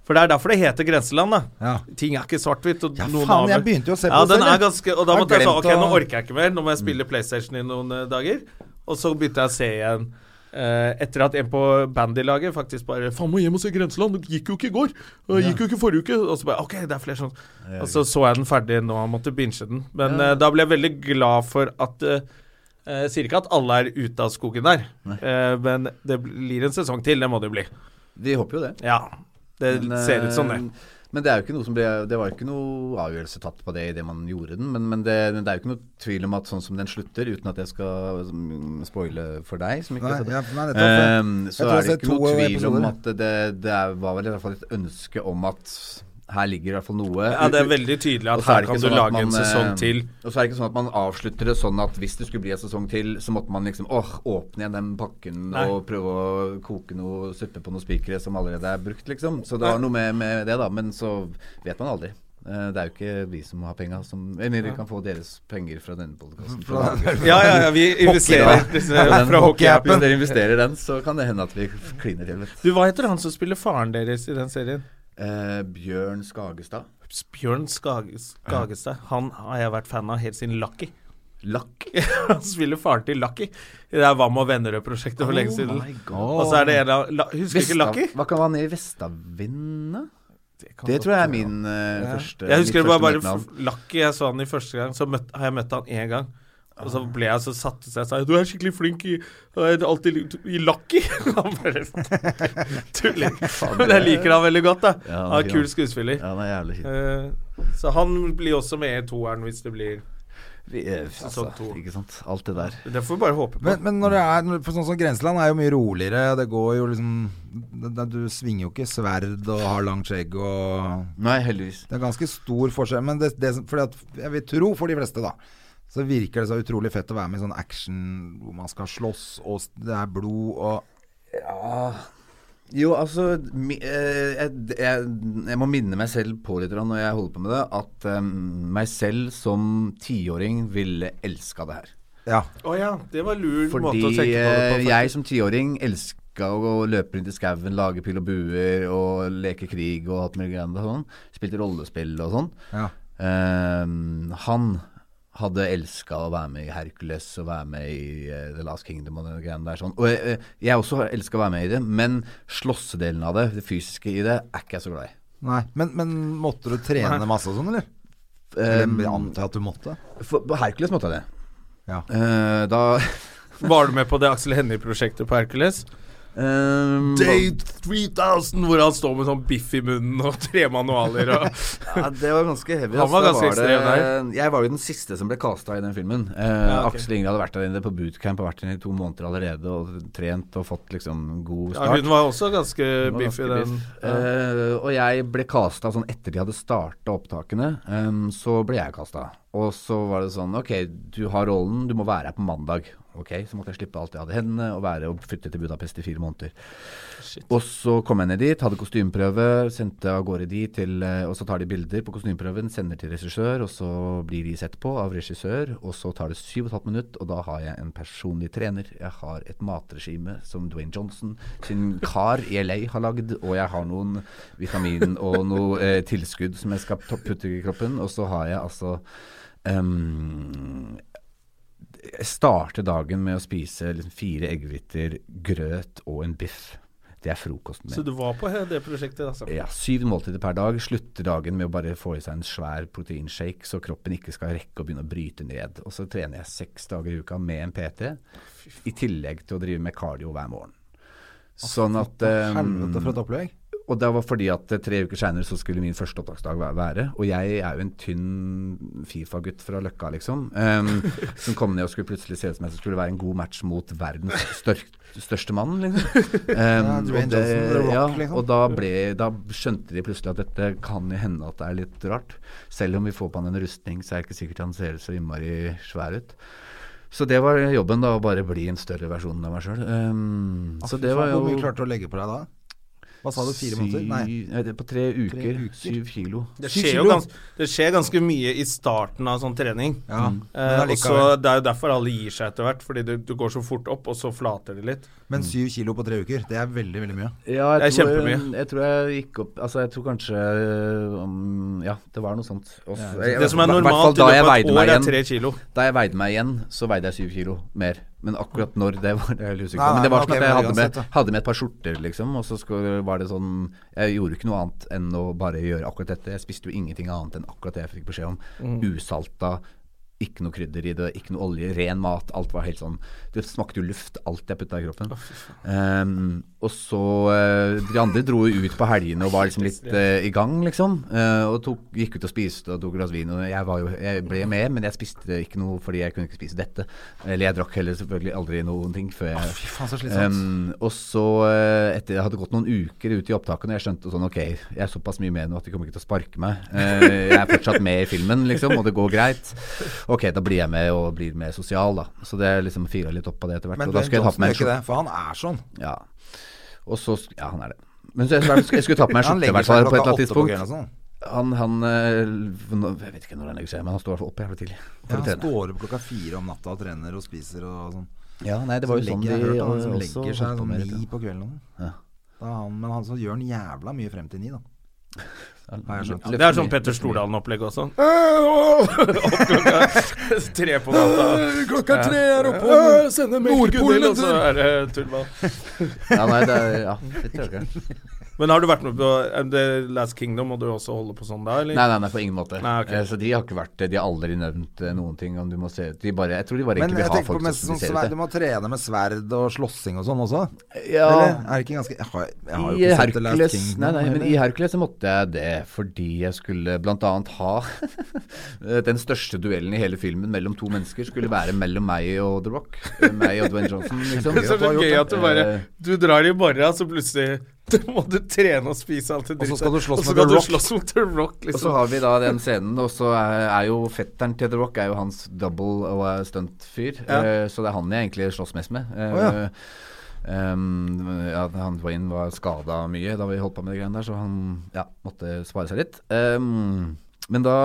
S2: For det er derfor det heter Grenseland, da.
S1: Ja.
S2: Ting er ikke svart-hvitt. og
S1: Ja,
S2: noen
S1: faen,
S2: har
S1: jeg
S2: vel-
S1: begynte jo å se
S2: ja,
S1: på det
S2: den
S1: selv,
S2: er
S1: jeg.
S2: ganske Og da
S1: Jeg
S2: måtte jeg
S1: har
S2: sånn
S1: glemt
S2: Ok, nå
S1: å-
S2: orker jeg ikke mer. Nå må jeg spille PlayStation i noen eh, dager. Og så begynte jeg å se igjen eh, etter at en på bandylaget faktisk bare 'Faen, må hjem og se Grenseland. Det gikk jo ikke i går. Det gikk jo ikke forrige uke.' Og så bare OK, det er flere sånn. Og så så jeg den ferdig nå. Jeg måtte binche den. Men eh, da ble jeg veldig glad for at eh, eh, Jeg sier ikke at alle er ute av skogen der, eh, men det blir en sesong til. Det må det jo bli.
S3: Vi Mm. håper jo det.
S2: Ja. Det
S3: Men, eh,
S2: ser ut som det.
S3: Men det er jo ikke noe som ble Det var jo ikke noe avgjørelse tatt på det idet man gjorde den. Men, men det, men det er jo ikke noe tvil om at sånn som den slutter, uten at jeg skal mm, spoile for deg som ikke
S1: Nei,
S3: har sett det,
S1: ja, nei, nettopp.
S3: ehm,
S1: Jeg
S3: så
S1: tror jeg
S3: er det ikke
S1: har sett
S3: noe
S1: to
S3: tvil om
S1: episoder.
S3: at det, det er- var vel i hvert fall et ønske om at her ligger i hvert fall noe.
S2: Ja, det er veldig tydelig at
S3: Og så er
S2: her
S3: det ikke
S2: kan du
S3: sånn at
S2: lage
S3: man,
S2: en sesong
S3: eh,
S2: til.
S3: Og så er det ikke sånn at man avslutter det sånn at hvis det skulle bli en sesong til, så måtte man liksom åh, åpne igjen den pakken
S2: Nei.
S3: og prøve å koke noe suppe på noen spikere som allerede er brukt, liksom. Så det var noe med, med det, da. Men så vet man aldri. Eh, Det er jo ikke vi som har penga som Eller vi kan få deres penger fra denne
S1: <laughs>
S3: podkasten.
S2: Ja, ja, ja, vi investerer disse fra
S3: Hvis
S2: hockeyappen.
S3: dere investerer i den, så kan det hende at vi kliner til litt.
S2: Du, hva heter han som spiller faren deres i den serien?
S3: Eh, Bjørn Skagestad.
S2: Bjørn Skage- Skagestad. Han har jeg vært fan av helt siden Lucky. <laughs>
S3: Lakk.
S2: Han spiller faren til Lucky i det der Hva med Vennerød-prosjektet for lenge
S3: Oh
S2: siden. Og så er det en av la- Husker ikke Lucky?
S3: Hva kan være nede i Vestavinda? Det tror jeg er min eh, første
S2: Jeg husker det
S3: mitt
S2: var
S3: første
S2: bare
S3: møte med han.
S2: f- Lucky jeg så han i første gang, så møtt, har jeg møtt han én gang. Og så ble jeg så satt ut, så jeg sa 'Du er skikkelig flink i, jeg er alltid i Lucky'. <laughs> Han bare tuller. Men jeg liker han veldig godt, da.
S3: Ja,
S2: Han er
S3: ja.
S2: kul skuespiller.
S3: Ja, han er jævlig kjip.
S2: Eh, Så han blir også med i toeren hvis det blir
S3: Vi, eh,
S2: Sesong
S3: altså,
S2: to.
S3: ikke sant. Alt det der.
S2: Det får vi bare håpe på.
S1: Men, men når det er når- for sånn som Grenseland er jo mye roligere. Det går jo liksom det, det, Du svinger jo ikke sverd og har langt skjegg og
S3: Nei, heldigvis.
S1: Det er ganske stor forskjell. Men det, det, som- fordi at, jeg vil tro for de fleste, da. Så virker det så utrolig fett å være med i sånn action hvor man skal slåss, og s- det er blod og
S3: Jo, altså mi, eh, jeg, jeg, jeg må minne meg selv på litt grann når jeg holder på med det, at eh, meg selv som tiåring ville elska det her.
S1: Ja.
S2: Å ja, det var lur
S3: Fordi
S2: måte å tenke på det
S3: eh,
S2: på.
S3: jeg som tiåring elska å gå- løpe rundt i skauen, lage pil og buer og leke krig og alt mulig greier og sånn. Spilte rollespill og sånn.
S1: Ja.
S3: Ehm, han hadde elska å være med i Hercules og være med i eh, The Last Kingdom og den greien der sånn. Og jeg, jeg også elska å være med i det, men slåssedelen av det, det fysiske i det, er ikke jeg så glad i.
S1: Nei. Men, men måtte du trene masse og sånn, eller? Eller jeg antar at du måtte?
S3: Ehm, For, på Hercules måtte jeg det.
S1: Ja.
S3: Eh, da <laughs>
S2: Var du med på det Aksel Hennie-prosjektet på Hercules?
S3: ehm,
S2: Day 3000, hvor han står med sånn biff i munnen og tre manualer og
S3: Ja, det var ganske heavy.
S2: Han
S3: ass.
S2: var
S3: Da
S2: ganske ekstrem
S3: det- Jeg var jo den siste som ble casta i den filmen. Eh,
S2: ok.
S3: Aksel Inge hadde vært der inne på bootcamp og vært der i to måneder allerede og trent og fått liksom
S2: <laughs> ja,
S3: god start.
S2: Hun var også ganske
S3: Hun var
S2: biff i
S3: ganske
S2: den.
S3: biff. Eh, og jeg ble casta sånn etter de hadde starta opptakene, ehm, så ble jeg casta. Og så var det sånn Ok, du har rollen, du må være her på mandag. Ok, Så måtte jeg slippe alt jeg hadde i hendene og være og flytte til Budapest i fire måneder. Og så kom jeg ned dit, hadde kostymeprøve, sendte av gårde de til eh, Og så tar de bilder på kostymeprøven, sender til regissør, og så blir de sett på av regissør, og så tar det syv og et halvt minutt, og da har jeg en personlig trener. Jeg har et matregime som Dwayne Johnson sin kar i LA har lagd, og jeg har noen vitamin og noe eh, tilskudd som jeg skal to- putte i kroppen, og så har jeg altså eh, ehm, jeg starter dagen med å spise liksom fire eggehviter, grøt og en biff. Det er frokosten min.
S2: Så du var på he- det prosjektet, altså?
S3: Ja, syv måltider per dag. Slutter dagen med å bare få i seg en svær proteinshake, så kroppen ikke skal rekke å begynne å bryte ned. Og så trener jeg seks dager i uka med en PT, i tillegg til å drive med cardio hver morgen. Sånn at ehm,
S1: Helvete for et opplegg.
S3: Og det var fordi at eh, tre uker seinere så skulle min første opptaksdag væ- være. Og jeg er jo en tynn Fifa-gutt fra Løkka, liksom.
S1: <laughs>
S3: ehm, som kom ned og skulle plutselig se ut som jeg skulle være en god match mot verdens stør største mann, liksom. Ehm,
S1: Ja,
S3: og
S1: Dwayne Johnson, sånn The Rock, liksom.
S3: Og da, ble, da skjønte de plutselig at dette kan jo hende at det er litt rart. Selv om vi får på han en rustning, så er det ikke sikkert han ser så innmari svær ut. Så det var jobben, da. Å bare bli en større versjon av meg sjøl. så det var jo
S1: Altså, Hvor mye klarte du å legge på deg da? Hva sa du, fire måneder? Nei.
S3: Syv- det er på tre uker.
S1: uker.
S3: Syv kilo.
S2: Det
S1: Syv
S2: skjer jo
S1: kilo.
S2: gans, det skjer ganske mye i starten av sånn trening.
S1: Ja,
S3: Mm.
S2: Eh,
S1: men
S2: og
S1: allikevel.
S2: så Det er jo derfor alle gir seg etter hvert, fordi du, du går så fort opp, og så flater det litt.
S1: Men syv kilo på tre uker, det er veldig, veldig mye.
S3: Ja,
S2: Det er
S3: tror- eh,
S2: kjempemye.
S3: Jeg tror jeg gikk opp Altså, jeg tror kanskje um, Ja, det var noe sånt. Og så- jeg-
S2: Det som er
S3: hva-
S2: normalt i
S3: hvertfall da jeg
S2: løpet av
S3: veide meg
S2: et år, er
S3: igjen-
S2: tre kilo.
S3: Da jeg veide meg igjen, så veide jeg syv kilo mer. Men akkurat når det var det er jeg litt usikker
S1: Nei,
S3: på. Men det
S1: nei,
S3: var sånn
S1: ok,
S3: at jeg
S1: men
S3: hadde
S1: uansett,
S3: med,
S1: da.
S3: hadde med et par skjorter, liksom. Og så skulle, var det sånn Jeg gjorde ikke noe annet enn å bare gjøre akkurat dette. Jeg spiste jo ingenting annet enn akkurat det jeg fikk beskjed om. Usalta. Ikke noe krydder i det, ikke noe olje, ren mat. Alt var helt sånn Det smakte jo luft, alt jeg putta i kroppen. Ehm, og så eh, De andre dro jo ut på helgene og var liksom litt eh, i gang, liksom. Eh, og tok, gikk ut og spiste og tok et glass vin. Og jeg, var jo, jeg ble med, men jeg spiste ikke noe fordi jeg kunne ikke spise dette. Eller jeg drakk heller selvfølgelig aldri noen ting før jeg
S1: Fy faen, så slitsomt.
S3: Ehm, og så, eh, etter det hadde gått noen uker ut i opptakene, jeg skjønte sånn Ok, jeg er såpass mye med nå at de kommer ikke til å sparke meg. Eh, jeg er fortsatt med i filmen, liksom, og det går greit. Ok, da blir jeg med og blir mer sosial, da. Så det liksom fira litt opp på det etter hvert.
S1: Men
S3: Og da
S1: Dwayne
S3: skulle jeg ta på
S1: Johnson
S3: meg en
S1: gjør ikke
S3: skjorte.
S1: det, for han er sånn.
S3: Ja. Og så sk- Ja, han er det. Men så jeg, jeg skulle- jeg skulle ta på meg
S1: <laughs> Han
S3: skjorte i
S1: legger
S3: hvert
S1: seg
S3: fall på et eller annet
S1: klokka åtte på
S3: tidspunkt.
S1: kvelden og sånn.
S3: Han, han eh, nå- Jeg vet ikke når han legger seg, men han står i hvert fall opp jævlig tidlig for
S1: Ja,
S3: å
S1: han
S3: trene.
S1: står opp klokka fire om natta og trener og spiser og sånn.
S3: Ja, nei, det var jo
S1: Så
S3: sånn de
S1: legger- jeg har hørt om han som
S3: eh, også
S1: legger seg
S3: holdt på
S1: sånn
S3: med det,
S1: ni på kvelden. og sånn.
S3: Ja.
S1: Da er han, men han så gjør han jævla mye frem til ni, da. Har jeg skjønt.
S2: Det er sånn Petter Stordalen-opplegg også. <laughs> Opp klokka tre på natta.
S1: Klokka tre er
S2: Øh, Sende mail til Gunhild, og så er det tullball.
S3: Ja, nei, det er Ja, fytti rakkeren.
S2: <laughs> Men har du vært med på eh, The Last Kingdom, og du også holder på sånn da, <laughs> eller?
S3: Nei, nei, nei, på ingen måte.
S2: Nei, ok.
S3: Eh, Så de har ikke vært De har aldri nevnt eh, noen ting om du må se ut. De bare Jeg tror de bare
S1: Men
S3: egentlig
S1: jeg
S3: vil ha
S1: tenker på
S3: folk
S1: mest
S3: som
S1: sånn
S3: de ser
S1: sverd, du
S3: ut.
S1: må trene med sverd og slåssing og sånn også?
S3: Ja.
S1: Eller er det ikke ganske Jeg har, jeg har jo
S3: I
S1: ikke sett The Last
S3: Hercules,
S1: Kingdom.
S3: nei, nei, men
S1: heller.
S3: I Hercules så måtte jeg det fordi jeg skulle bl.a. ha <laughs> den største duellen i hele filmen mellom to mennesker skulle være mellom meg og The Rock. Eh, Meg og Dwayne Johnson,
S2: <laughs>
S3: liksom.
S2: Det er så gøy at du bare
S3: Eh,
S2: Du drar i morgen, så plutselig <laughs> må du trene og spise alt det
S1: Og
S2: drittet.
S1: så skal du slåss
S2: Og så
S1: med The
S2: skal du
S1: Rock.
S2: slåss mot The Rock,
S3: Og så
S2: liksom.
S3: har vi da den scenen, og så er, er jo fetteren til The Rock er jo hans double og er stuntfyr.
S2: Ja.
S3: eh, så det er han jeg egentlig slåss mest med. Eh,
S1: Å,
S3: ehm, ja, han Dwayne var skada mye da vi holdt på med de greiene der, så han ja, måtte spare seg litt. Ehm, men da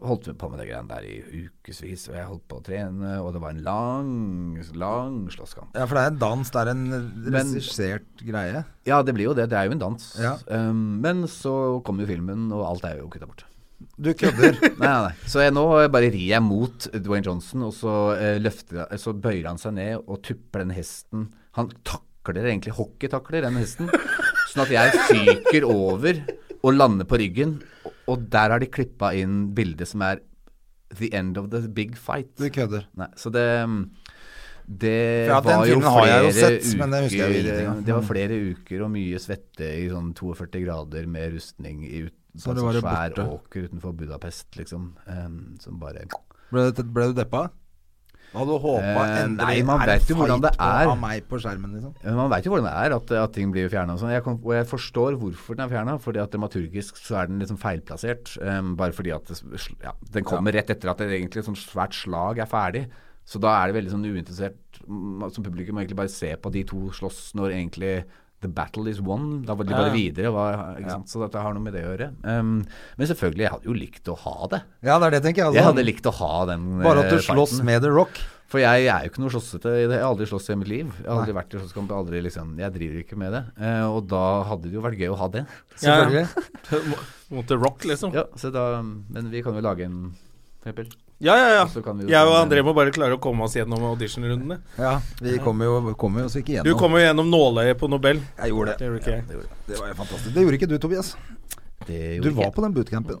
S3: holdt vi på med de greiene der i ukevis, og jeg holdt på å trene, og det var en lang, lang slåsskamp.
S1: Ja, for det er en dans, det er en regissert greie.
S3: Ja, det blir jo det. Det er jo en dans.
S1: Ja.
S3: Ehm, men så kom jo filmen, og alt er jo kutta bort.
S1: Du kødder.
S3: <laughs> Nei, nei, nei. Så jeg, nå bare rir jeg mot Dwayne Johnson, og så, eh, løfter, jeg- så bøyer han seg ned og tupper den hesten. Han takler egentlig, hockeytakler den hesten, sånn at jeg fyker over og lander på ryggen. Og, og der har de klippa inn bildet som er The end of the big fight.
S1: <laughs> Du kødder.
S3: Nei, så det mm, det
S1: Ja, den
S3: var jo
S1: filmen har jeg jo
S3: flere
S1: sett, men det husker jeg Mm. jo
S3: uker
S1: ingenting av.
S3: Det var flere uker og mye svette i sånn 42 grader med rustning i ut,
S1: Så
S3: på
S1: det
S3: en
S1: var
S3: sånn
S1: det
S3: svær
S1: borte.
S3: åker utenfor Budapest, liksom. em, som bare
S1: Ble, du- ble du deppa? Hva hadde du håpa
S3: Eh,
S1: endelig
S3: nei, man
S1: er det
S3: vet jo hvordan
S1: fight
S3: det
S1: på-
S3: er.
S1: Av meg på skjermen, liksom.
S3: Men Man veit jo hvordan det er, at, at ting blir fjerna og sånn. Jeg kom- Og jeg forstår hvorfor den er fjerna, fordi at dramaturgisk så er den liksom feilplassert. em, bare fordi at det, s- ja, den kommer rett etter at det egentlig et sånt svært slag er ferdig. Så da er det veldig sånn uinteressert mm, Som publikum må egentlig bare se på de to slåss når egentlig The battle is won. Da var de bare videre. Var, ikke sant? Så dette har noe med det å gjøre. Em, men selvfølgelig, jeg hadde jo likt å ha det.
S1: Ja, det er det, tenker jeg.
S3: Jeg
S1: altså.
S3: hadde likt å ha den
S1: Bare at
S3: eh,
S1: du
S3: fighten.
S1: slåss med The Rock.
S3: For jeg, er jo ikke noe slåssete. i det. Jeg har aldri slåss i mitt liv. Jeg har aldri vært i slåsskamp. jeg har Aldri liksom, jeg driver ikke med det. Eh, og da hadde det jo vært gøy å ha det. <laughs>
S1: Selvfølgelig.
S2: Mot The Rock, liksom.
S3: Ja, så da, men vi kan jo lage en for eksempel.
S2: Ja, ja, ja.
S3: Så kan vi jo-
S2: Jeg og André må bare klare å komme oss gjennom auditionrundene.
S1: Ja, vi kommer jo, kommer jo oss ikke
S2: Du
S1: gjennom.
S2: kom jo gjennom nåløyet på Nobel.
S1: Jeg
S2: Det
S1: gjorde det.
S2: gjorde ikke jeg.
S1: Det, gjorde. jeg. det var jo fantastisk. Det gjorde ikke du, Tobias.
S3: Det
S1: Du
S3: gjorde
S1: var
S3: ikke
S1: på den bootcampen.
S3: jeg.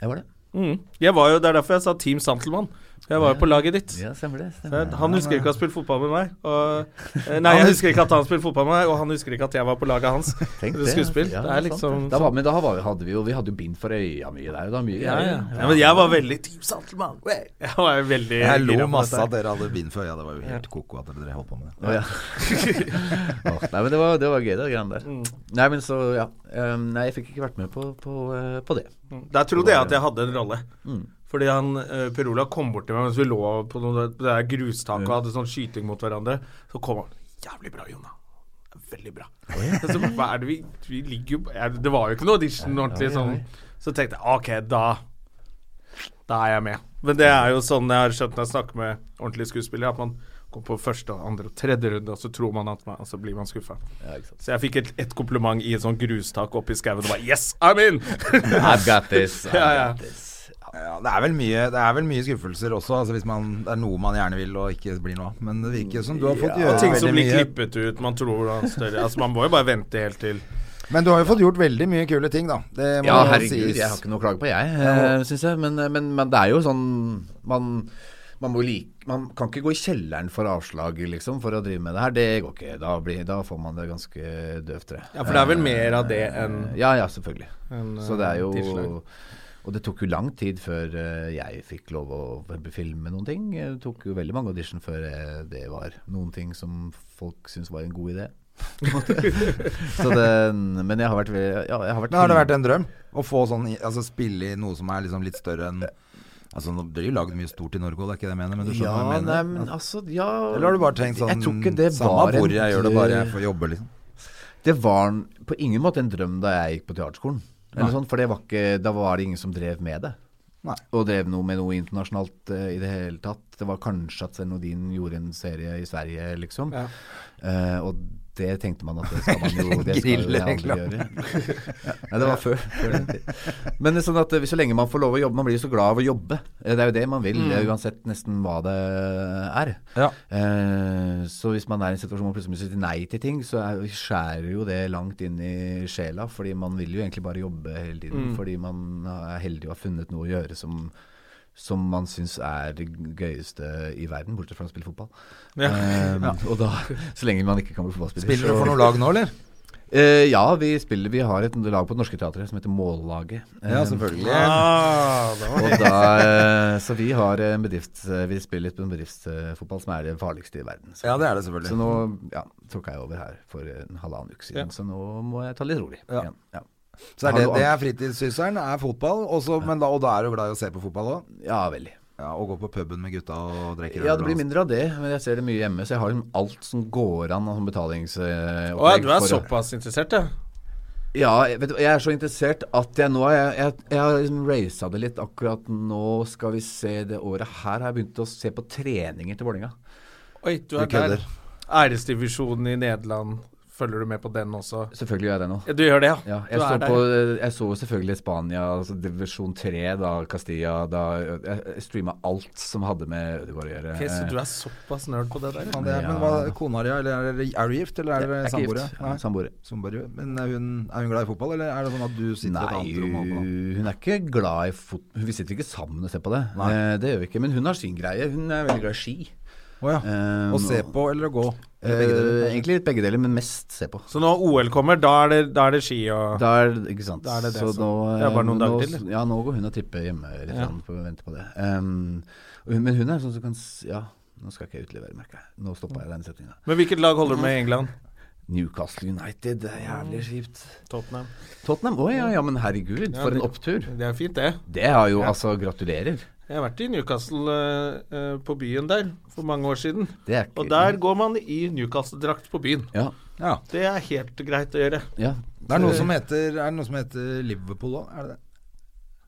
S3: Jeg var det.
S2: Mm. Jeg var jo, Det er derfor jeg sa Team Santelmann. Jeg var jo på laget ditt.
S3: Ja, stemmer det. Stemmer. det.
S2: Han husker ikke å ha spilt fotball med meg. Og, eh, nei, jeg husker ikke at han spilte fotball med meg, og han husker ikke at jeg var på laget hans.
S3: Tenk altså.
S2: Det er skuespill.
S3: Ja,
S2: Det er
S3: sant,
S2: liksom-
S3: Da var, men da var, vi- hadde vi jo Vi hadde jo bind for øya mye der. Da, mye
S2: Ja, ja.
S3: greier.
S2: ja, Men jeg var veldig Team Santelmann. Wey! Jeg var jo veldig
S1: Jeg
S2: gira
S1: lo
S2: på
S1: masse
S2: dette.
S1: at dere hadde bind før. Ja, det var jo helt koko at dere holdt på med det.
S2: <laughs>
S3: Å, ja. Åh, nei, men det var, det var gøy, det greiene der.
S2: Mm.
S3: Nei, men så, ja. Um, nei, jeg fikk ikke vært med på, på, eh, på det.
S2: Der trodde jeg at jeg hadde en rolle. Fordi han, eh, Per Olav kom bort til meg mens vi lå på noe, det der grustaket og hadde sånn skyting mot hverandre. Så kom han. Jævlig bra, Jonna. Veldig bra. <laughs> Så bare, hva er det vi, vi ligger jo jeg, Det var jo ikke noe audition ordentlig sånn. Så tenkte jeg OK, da Da er jeg med. Men det er jo sånn jeg har skjønt når jeg snakker med ordentlige skuespillere, at man går på første, andre og tredje runde, og så tror man at man Og så blir man skuffa. Så jeg fikk et, et kompliment i et sånt grustak oppe i skauen og bare Yes, I'm in!
S3: <laughs> I've got this. I've
S2: <laughs> Ja, ja.
S3: got this.
S1: Ja, det, er vel mye, det er vel mye skuffelser også, altså hvis man, det er noe man gjerne vil og ikke blir noe av. Men det virker som du har fått gjøre
S2: Ting som
S1: veldig
S2: blir
S1: mye.
S2: klippet ut, man tror det er større Altså Man må jo bare vente helt til
S1: Men du har jo fått gjort veldig mye kule ting, da. Det må
S3: Ja,
S1: jo
S3: herregud,
S1: sies.
S3: jeg har ikke noe å klage på, jeg, eh, syns jeg. Men, men, men det er jo sånn Man, man må like Man kan ikke gå i kjelleren for avslag, liksom, for å drive med det her. Det går ikke. Da, blir, da får man det ganske døvt, tror jeg. Eh,
S2: Ja, for det er vel mer av det enn eh,
S3: Ja, ja, selvfølgelig. så det er jo
S2: tilslag.
S3: Og det tok jo lang tid før eh, jeg fikk lov å filme noen ting. Eh, Det tok jo veldig mange audition før eh, det var noen ting som folk syntes var en
S2: <laughs>
S3: god idé. <laughs> på en måte. så det, men jeg har vært ve- ja, jeg har vært,
S1: Men har det vært en drøm å få sånn i- Altså spille i noe som er liksom litt større enn Altså, nå blir det jo lagd mye stort i Norge òg, det er ikke det jeg mener, men du skjønner
S3: ja,
S1: hva jeg
S3: Nei,
S1: mener?
S3: men altså, ja
S1: Eller har du bare tenkt sånn
S3: Jeg tror ikke det
S1: Samme
S3: var en
S1: hvor jeg gjør det, bare jeg
S3: drøm.
S1: får jobbe, liksom.
S3: Det var en- på ingen måte en drøm da jeg gikk på teaterskolen. Eller sånn, for det var ikke, da var det ingen som drev med det.
S1: Nei.
S3: Og drev noe med noe internasjonalt eh, i det hele tatt. Det var kanskje at Sven Nordin gjorde en serie i Sverige, liksom. Eh, og det tenkte man at det skal man jo
S1: <laughs>
S3: Det skal jo jeg aldri
S1: Grillreklame.
S3: gjøre. Nei, det var før. før den tid. Men sånn at eh, så lenge man får lov å jobbe Man blir jo så glad av å jobbe. Eh, Det er jo det man vil, eh, uansett nesten hva det er.
S1: Mm. Ja.
S3: Eh, så hvis man er i en situasjon hvor man plutselig sier nei til ting, så er, skjærer jo det langt inn i sjela. Fordi man vil jo egentlig bare jobbe hele tiden.
S1: Mm.
S3: Fordi man eh, er heldig og har funnet noe å gjøre som som man syns er det gøyeste i verden, bortsett fra å spille fotball. Eh, Og da, så lenge man ikke kan bli fotballspiller
S1: Spiller du
S3: så-
S1: for noe lag nå, eller?
S3: Eh, ja, vi, spiller, vi har et lag på Det Norske Teatret som heter Mållaget. Eh,
S1: Ja, selvfølgelig.
S2: ah, da var
S3: og da, eh, så vi har en bedrift eh, Vi spiller på en bedriftsfotball som er det farligste i verden. Så,
S1: Ja, det er det
S3: så
S1: selvfølgelig.
S3: nå ja, tråkka jeg over her for en halvannen uke siden, så nå må jeg ta litt rolig
S1: Ja.
S3: igjen. Ja.
S1: Så er
S3: Har
S1: det,
S3: du
S1: det
S3: an-
S1: er fritidssysselen, er fotball, og så- men da, og da er du glad i å se på fotball òg?
S3: ja, veldig.
S1: Ja, og gå på puben med gutta og drikke
S3: Ja, det blir mindre av det, men jeg ser det mye hjemme. Så jeg har liksom alt som går an av sånn betalingsopplegg.
S2: Å ja, du er
S3: for å-
S2: såpass interessert, ja.
S3: Ja, jeg, vet, du, jeg er så interessert at jeg nå er- Jeg, jeg, jeg har liksom raisa det litt akkurat nå. Skal vi se det året her har jeg begynt å se på treninger til Vålerenga.
S2: Oi, du er
S1: Du kødder.
S2: der. Æresdivisjonen i Nederland, følger du med på den også?
S3: Selvfølgelig gjør jeg det nå.
S2: Ja, Du gjør det, ja?
S3: Ja, jeg,
S2: du
S3: så
S2: er der.
S3: på, jeg så jo selvfølgelig Spania, altså divisjon 3, da Castilla da, Jeg, jeg streama alt som hadde med Ødegaard å gjøre.
S2: Ok, så du er såpass nerd på det der? ja.
S1: Ja, det er, men hva, kona di, eller er, dere- er du gift, eller er
S3: Jeg Eh,
S1: dere
S3: er ikke gift.
S1: samboere?
S3: Ja, Samboere.
S1: Samboere. Men er hun, er hun glad i fotball, eller er det sånn at du sitter i et
S3: Nei,
S1: annet rom og holder på?
S3: hun er ikke glad i fot... Vi sitter ikke sammen og ser på det.
S1: Nei.
S3: Eh, det gjør vi ikke. Men hun har sin greie. Hun er veldig glad i ski.
S1: Å ja.
S3: Eh,
S1: Å se på eller å gå? Eller begge
S3: Eh,
S1: deler?
S3: egentlig litt begge deler, men mest se på.
S2: Så når OL kommer, da er det, da er det ski og
S3: Da er, ikke sant.
S2: Da er det det
S3: så
S2: som-
S3: nå, eh,
S2: det er bare noen
S3: nå,
S2: dager til, det.
S3: Ja, nå går hun og tripper hjemme litt
S2: Ja.
S3: grann for å vente på det. Ehm, og hun- men hun er sånn som kan s- Ja, nå skal ikke jeg utlevere, merker jeg. Nå stoppa jeg den setninga.
S2: Men hvilket lag holder du med i England?
S3: Newcastle United, det er jævlig kjipt.
S2: Tottenham.
S3: Tottenham, å ja, ja, men herregud, for
S2: det-
S3: en opptur.
S2: Det er fint, det.
S3: Det har jo altså Gratulerer.
S2: Jeg har vært i Newcastle eh, eh, på byen der for mange år siden.
S3: Det er ikke
S2: Og der går man i Newcastle-drakt på byen.
S3: Ja.
S1: Ja.
S2: Det er helt greit å gjøre.
S3: ja.
S1: Det er noe som heter, er det noe som heter Liverpool òg, er det det?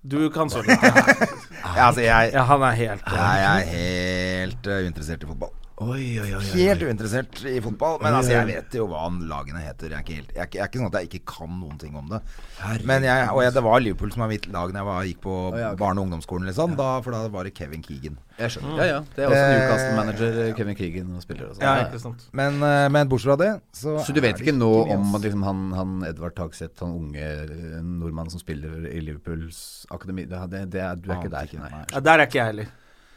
S2: Du kan sånn.
S1: Ja, altså, jeg,
S2: Ja, han er helt
S1: Nei, jeg er helt eh, uinteressert i fotball.
S3: Oi, oi, oi. oi.
S1: Helt uinteressert i fotball. Men altså, jeg vet jo hva lagene heter. Jeg er ikke, helt, jeg er ikke, jeg er ikke sånn at jeg ikke kan noen ting om det. Men jeg, og jeg, det var Liverpool som var mitt lag da jeg var, gikk på
S3: ja, ok.
S1: barne- og ungdomsskolen, liksom. Da, for da var det Kevin Keegan.
S3: Jeg skjønner. Ja, ja. Det er også Newcastle-manager Kevin Keegan og spiller og sånn.
S2: Ja, ikke sant.
S1: Men, eh, men bortsett fra det, så
S3: Så du vet
S1: er det
S3: ikke nå
S1: mye,
S3: om
S1: ass.
S3: at liksom han, han Edvard Tagseth, han unge eh, nordmannen som spiller i Liverpools akademi det, det, det er, Du er ikke
S1: Ante
S3: der,
S1: ikke,
S3: nei.
S1: nei.
S2: Ja, der er ikke jeg heller.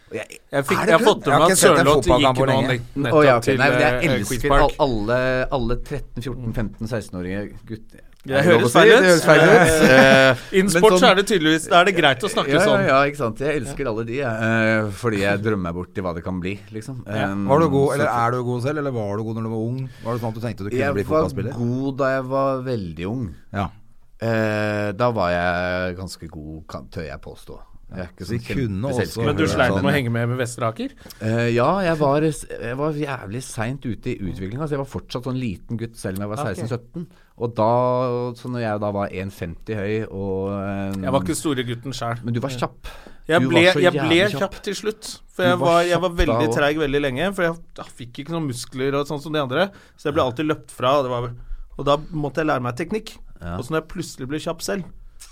S3: Jeg,
S2: Jeg, fikk,
S1: Er
S2: jeg
S1: det
S2: har fått med meg
S1: kun- Jeg har
S2: at
S1: ikke sett en
S2: Sørloth gikk
S1: fotballkamp på
S2: nå
S1: lenge.
S2: nett- nettopp
S3: Å, ja, ok.
S2: til
S3: Nei, men
S2: eh,
S3: jeg
S2: Queen's
S3: elsker
S2: Park.
S3: all- alle, alle
S1: Mm.
S3: 13-14-15-16-årige gutter.
S2: Det høres feil ut. Eh, <laughs> Innen
S3: Eh, Men
S2: sport så
S3: sånn-
S2: er det tydeligvis Da er det greit å snakke
S3: Ja, ja,
S2: sånn.
S3: ja, ikke sant. Jeg elsker alle de, jeg. eh, Fordi jeg drømmer meg bort til hva det kan bli, liksom. Um,
S1: Var du god,
S3: så-
S1: eller er du god selv, eller var du god når du var ung? Var det sånn at du tenkte du kunne bli
S3: Jeg var
S1: fotballspiller?
S3: god da jeg var veldig ung.
S1: Ja.
S3: Eh, da var jeg ganske god, kan, tør jeg påstå. Jeg er ikke sånn
S1: Så vi kunne
S3: kjempe-
S1: også-
S3: selvskryt.
S2: Men du sleit
S1: Sånn.
S2: med å henge med med Vestre Aker?
S3: Eh, ja, jeg var, jeg var jævlig seint ute i utviklinga. Altså jeg var fortsatt sånn liten gutt selv om jeg var 16-17. Og da, så når jeg da var 1,50 høy og eh,
S2: Jeg var ikke store gutten sjæl.
S3: Men du var kjapp.
S2: Jeg
S3: Du
S2: ble,
S3: var så
S2: jeg ble
S3: jævlig
S2: kjapp til slutt.
S3: Du
S2: For jeg
S3: var
S2: var, jeg var
S3: kjapp da
S2: veldig
S3: også.
S2: treig veldig lenge. For jeg, jeg fikk ikke noen muskler og sånn som de andre. Så jeg ble alltid løpt fra. Og, det var, og da måtte jeg lære meg teknikk. Og så når jeg plutselig ble kjapp selv,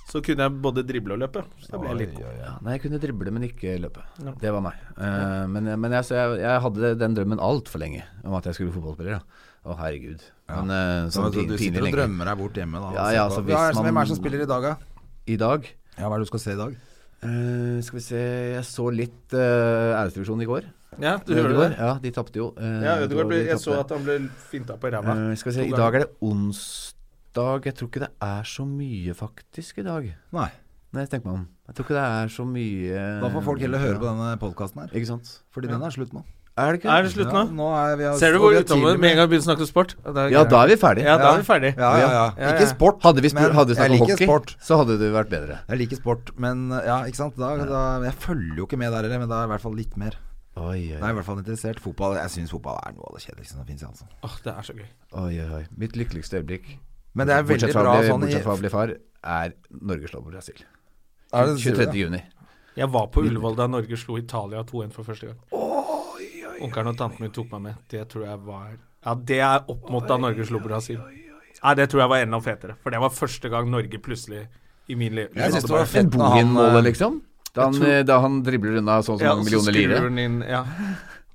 S2: så kunne jeg både drible og løpe. Så da ble jeg litt god.
S3: Ja, nei, jeg kunne drible, men ikke løpe. Det var meg. Eh, men men jeg, så jeg, jeg hadde den drømmen altfor lenge om at jeg skulle bli fotballspiller. da. Å, herregud. Men, eh,
S1: Så
S3: sånn
S1: altså, du,
S3: pin- pinlig
S1: du sitter og
S3: lenge.
S1: drømmer deg bort hjemme, da. og
S3: Ja,
S1: ser
S3: ja,
S1: på-
S3: altså, hvis
S1: Hva er det som-
S3: man-
S1: Hvem er det som spiller i dag, da?
S3: I dag
S1: Ja, hva er det du skal se i dag?
S3: eh, Skal vi se Jeg så litt uh, æresdivisjon i går.
S2: Ja, du hører det?
S3: Ja, de tapte jo. eh,
S2: Ja,
S3: det var-
S2: Ødegaard ble
S3: de
S2: Jeg så
S3: tapte.
S2: at han ble finta på ræva.
S3: Eh, skal vi se,
S2: To
S3: I dag er det onsdag. Jeg tror ikke det er så mye faktisk i dag.
S1: Nei.
S3: Nei, jeg tenker meg om. Jeg tror ikke det er så mye eh,
S1: Da får folk heller høre på denne podkasten her.
S3: Ikke sant.
S1: Fordi den er slutt nå.
S3: Er det ikke
S2: Er det slutt
S1: Ja,
S2: nå?
S1: nå er vi,
S2: Ser du
S1: og
S2: hvor
S1: vi er tidlig
S2: utover med en gang vi begynner å snakke om sport?
S3: Ja, da er vi ferdige.
S2: Ja, da er vi ferdig.
S1: Ja, ja, ja.
S2: Ja, ja.
S1: Ikke sport.
S3: Hadde vi, spurt,
S1: men
S3: hadde vi
S1: jeg
S3: snakket om
S1: liker
S3: hockey,
S1: sport.
S3: så hadde det vært bedre.
S1: Jeg liker sport, men ja, ikke sant. Da, da, jeg følger jo ikke med der heller, men da er jeg i hvert fall litt mer.
S3: Oi,
S1: Da er jeg i hvert fall interessert. Fotball, jeg syns fotball er noe av det kjedeligste som fins. Altså.
S2: Åh, det er så gøy.
S3: oi, oi. Mitt lykkeligste øyeblikk,
S1: Men det er veldig
S3: bortsett fra,
S1: bra
S3: å bli-
S1: sånn i
S3: bortsett fra å bli far, er Norge slår mot Brasil.
S1: Er det-
S3: 23. juni.
S2: Jeg var på Ullevål da Norge slo Italia 2-1 for første gang. Onkelen og tanten min tok meg med. Det tror jeg var Ja, det er opp mot da Norge slo Brasil. Nei, det tror jeg var enda fetere. For det var første gang Norge plutselig i min liv
S1: Jeg synes det
S2: Ja,
S1: var fett når han,
S3: Bohin-målet,
S1: eh,
S3: liksom? Da han, eh, da han dribler unna så og så
S2: ja,
S3: mange
S2: og så
S3: millioner
S2: skrur
S3: lire.
S2: den inn, ja.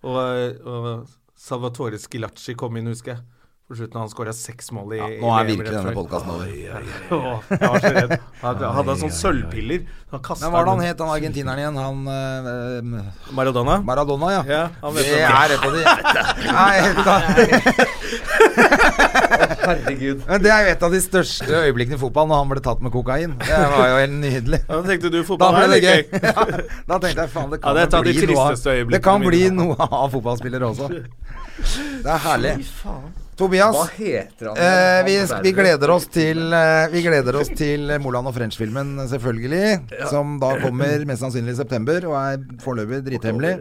S2: Og, og Salvatore Skilacci kom inn, husker jeg. På slutten han skåra seks mål i,
S1: Nå
S2: i VM rett
S1: er virkelig denne
S2: før.
S1: podkasten over.
S2: Åh, Jeg var så redd. Han hadde sånn sølvpiller. Han kastet
S1: Men hva er det han
S2: den-
S1: het, han argentineren igjen? Han eh,
S2: Maradona?
S1: Maradona, ja.
S2: Ja, han vet hvem
S1: det er et av de Nei, helt Herregud. Men det er jo et av de største øyeblikkene i fotball, når han ble tatt med kokain. Det var jo helt nydelig.
S2: Ja, Da tenkte du
S1: Da
S2: fotball
S1: ble
S2: er
S1: det
S2: litt
S1: gøy.
S2: gøy.
S1: Ja, da tenkte jeg faen, det
S2: Ja,
S1: kan
S2: det er et av de
S1: bli noe av,
S2: tristeste øyeblikkene
S1: Det kan
S2: mine.
S1: bli noe av fotballspillere også. Det er herlig. Tobias,
S3: heter
S1: eh, vi, vi gleder oss til eh, Vi gleder oss til Moland og French-filmen, selvfølgelig. Som da kommer mest sannsynlig i september, og er foreløpig drithemmelig.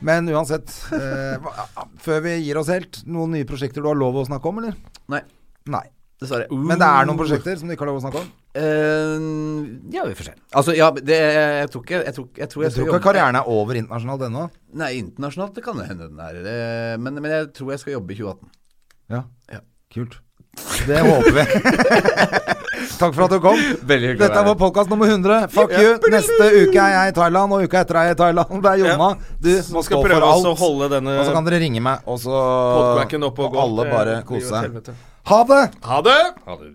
S1: Men uansett, eh, hva- før vi gir oss helt, noen nye prosjekter du har lov å snakke om, eller?
S3: Nei,
S1: Nei.
S3: dessverre.
S1: Men det er
S2: Mm.
S1: noen prosjekter som du ikke har lov å snakke om?
S3: Eh, ja, vi får se. Altså, ja, men det, jeg tror ikke Jeg tror, jeg tror, jeg
S1: Jeg
S3: skal
S1: tror ikke
S3: jobbe-
S1: karrieren er over internasjonalt ennå.
S3: Nei, internasjonalt det kan det hende den er. Det, men, men jeg tror jeg skal jobbe i 2018.
S1: Ja.
S3: Ja.
S1: Kult. Det håper vi. Takk for at du kom.
S3: Veldig hyggelig å
S1: Dette
S3: være
S1: var
S3: her.
S1: podkast nummer 100. Fuck you. Neste uke er jeg i Thailand, og uka etter er jeg i Thailand. Det er Jonna. Du
S2: Som
S1: må
S2: skal
S1: stå
S2: prøve
S1: for
S2: også å
S1: alt.
S2: holde denne
S1: Og så kan dere ringe meg, og så
S2: podbacken opp og gå.
S1: alle
S2: Det
S1: bare
S2: blir jo
S1: kose
S2: et
S1: seg.
S2: helvete.
S1: Ha det!
S2: Ha det!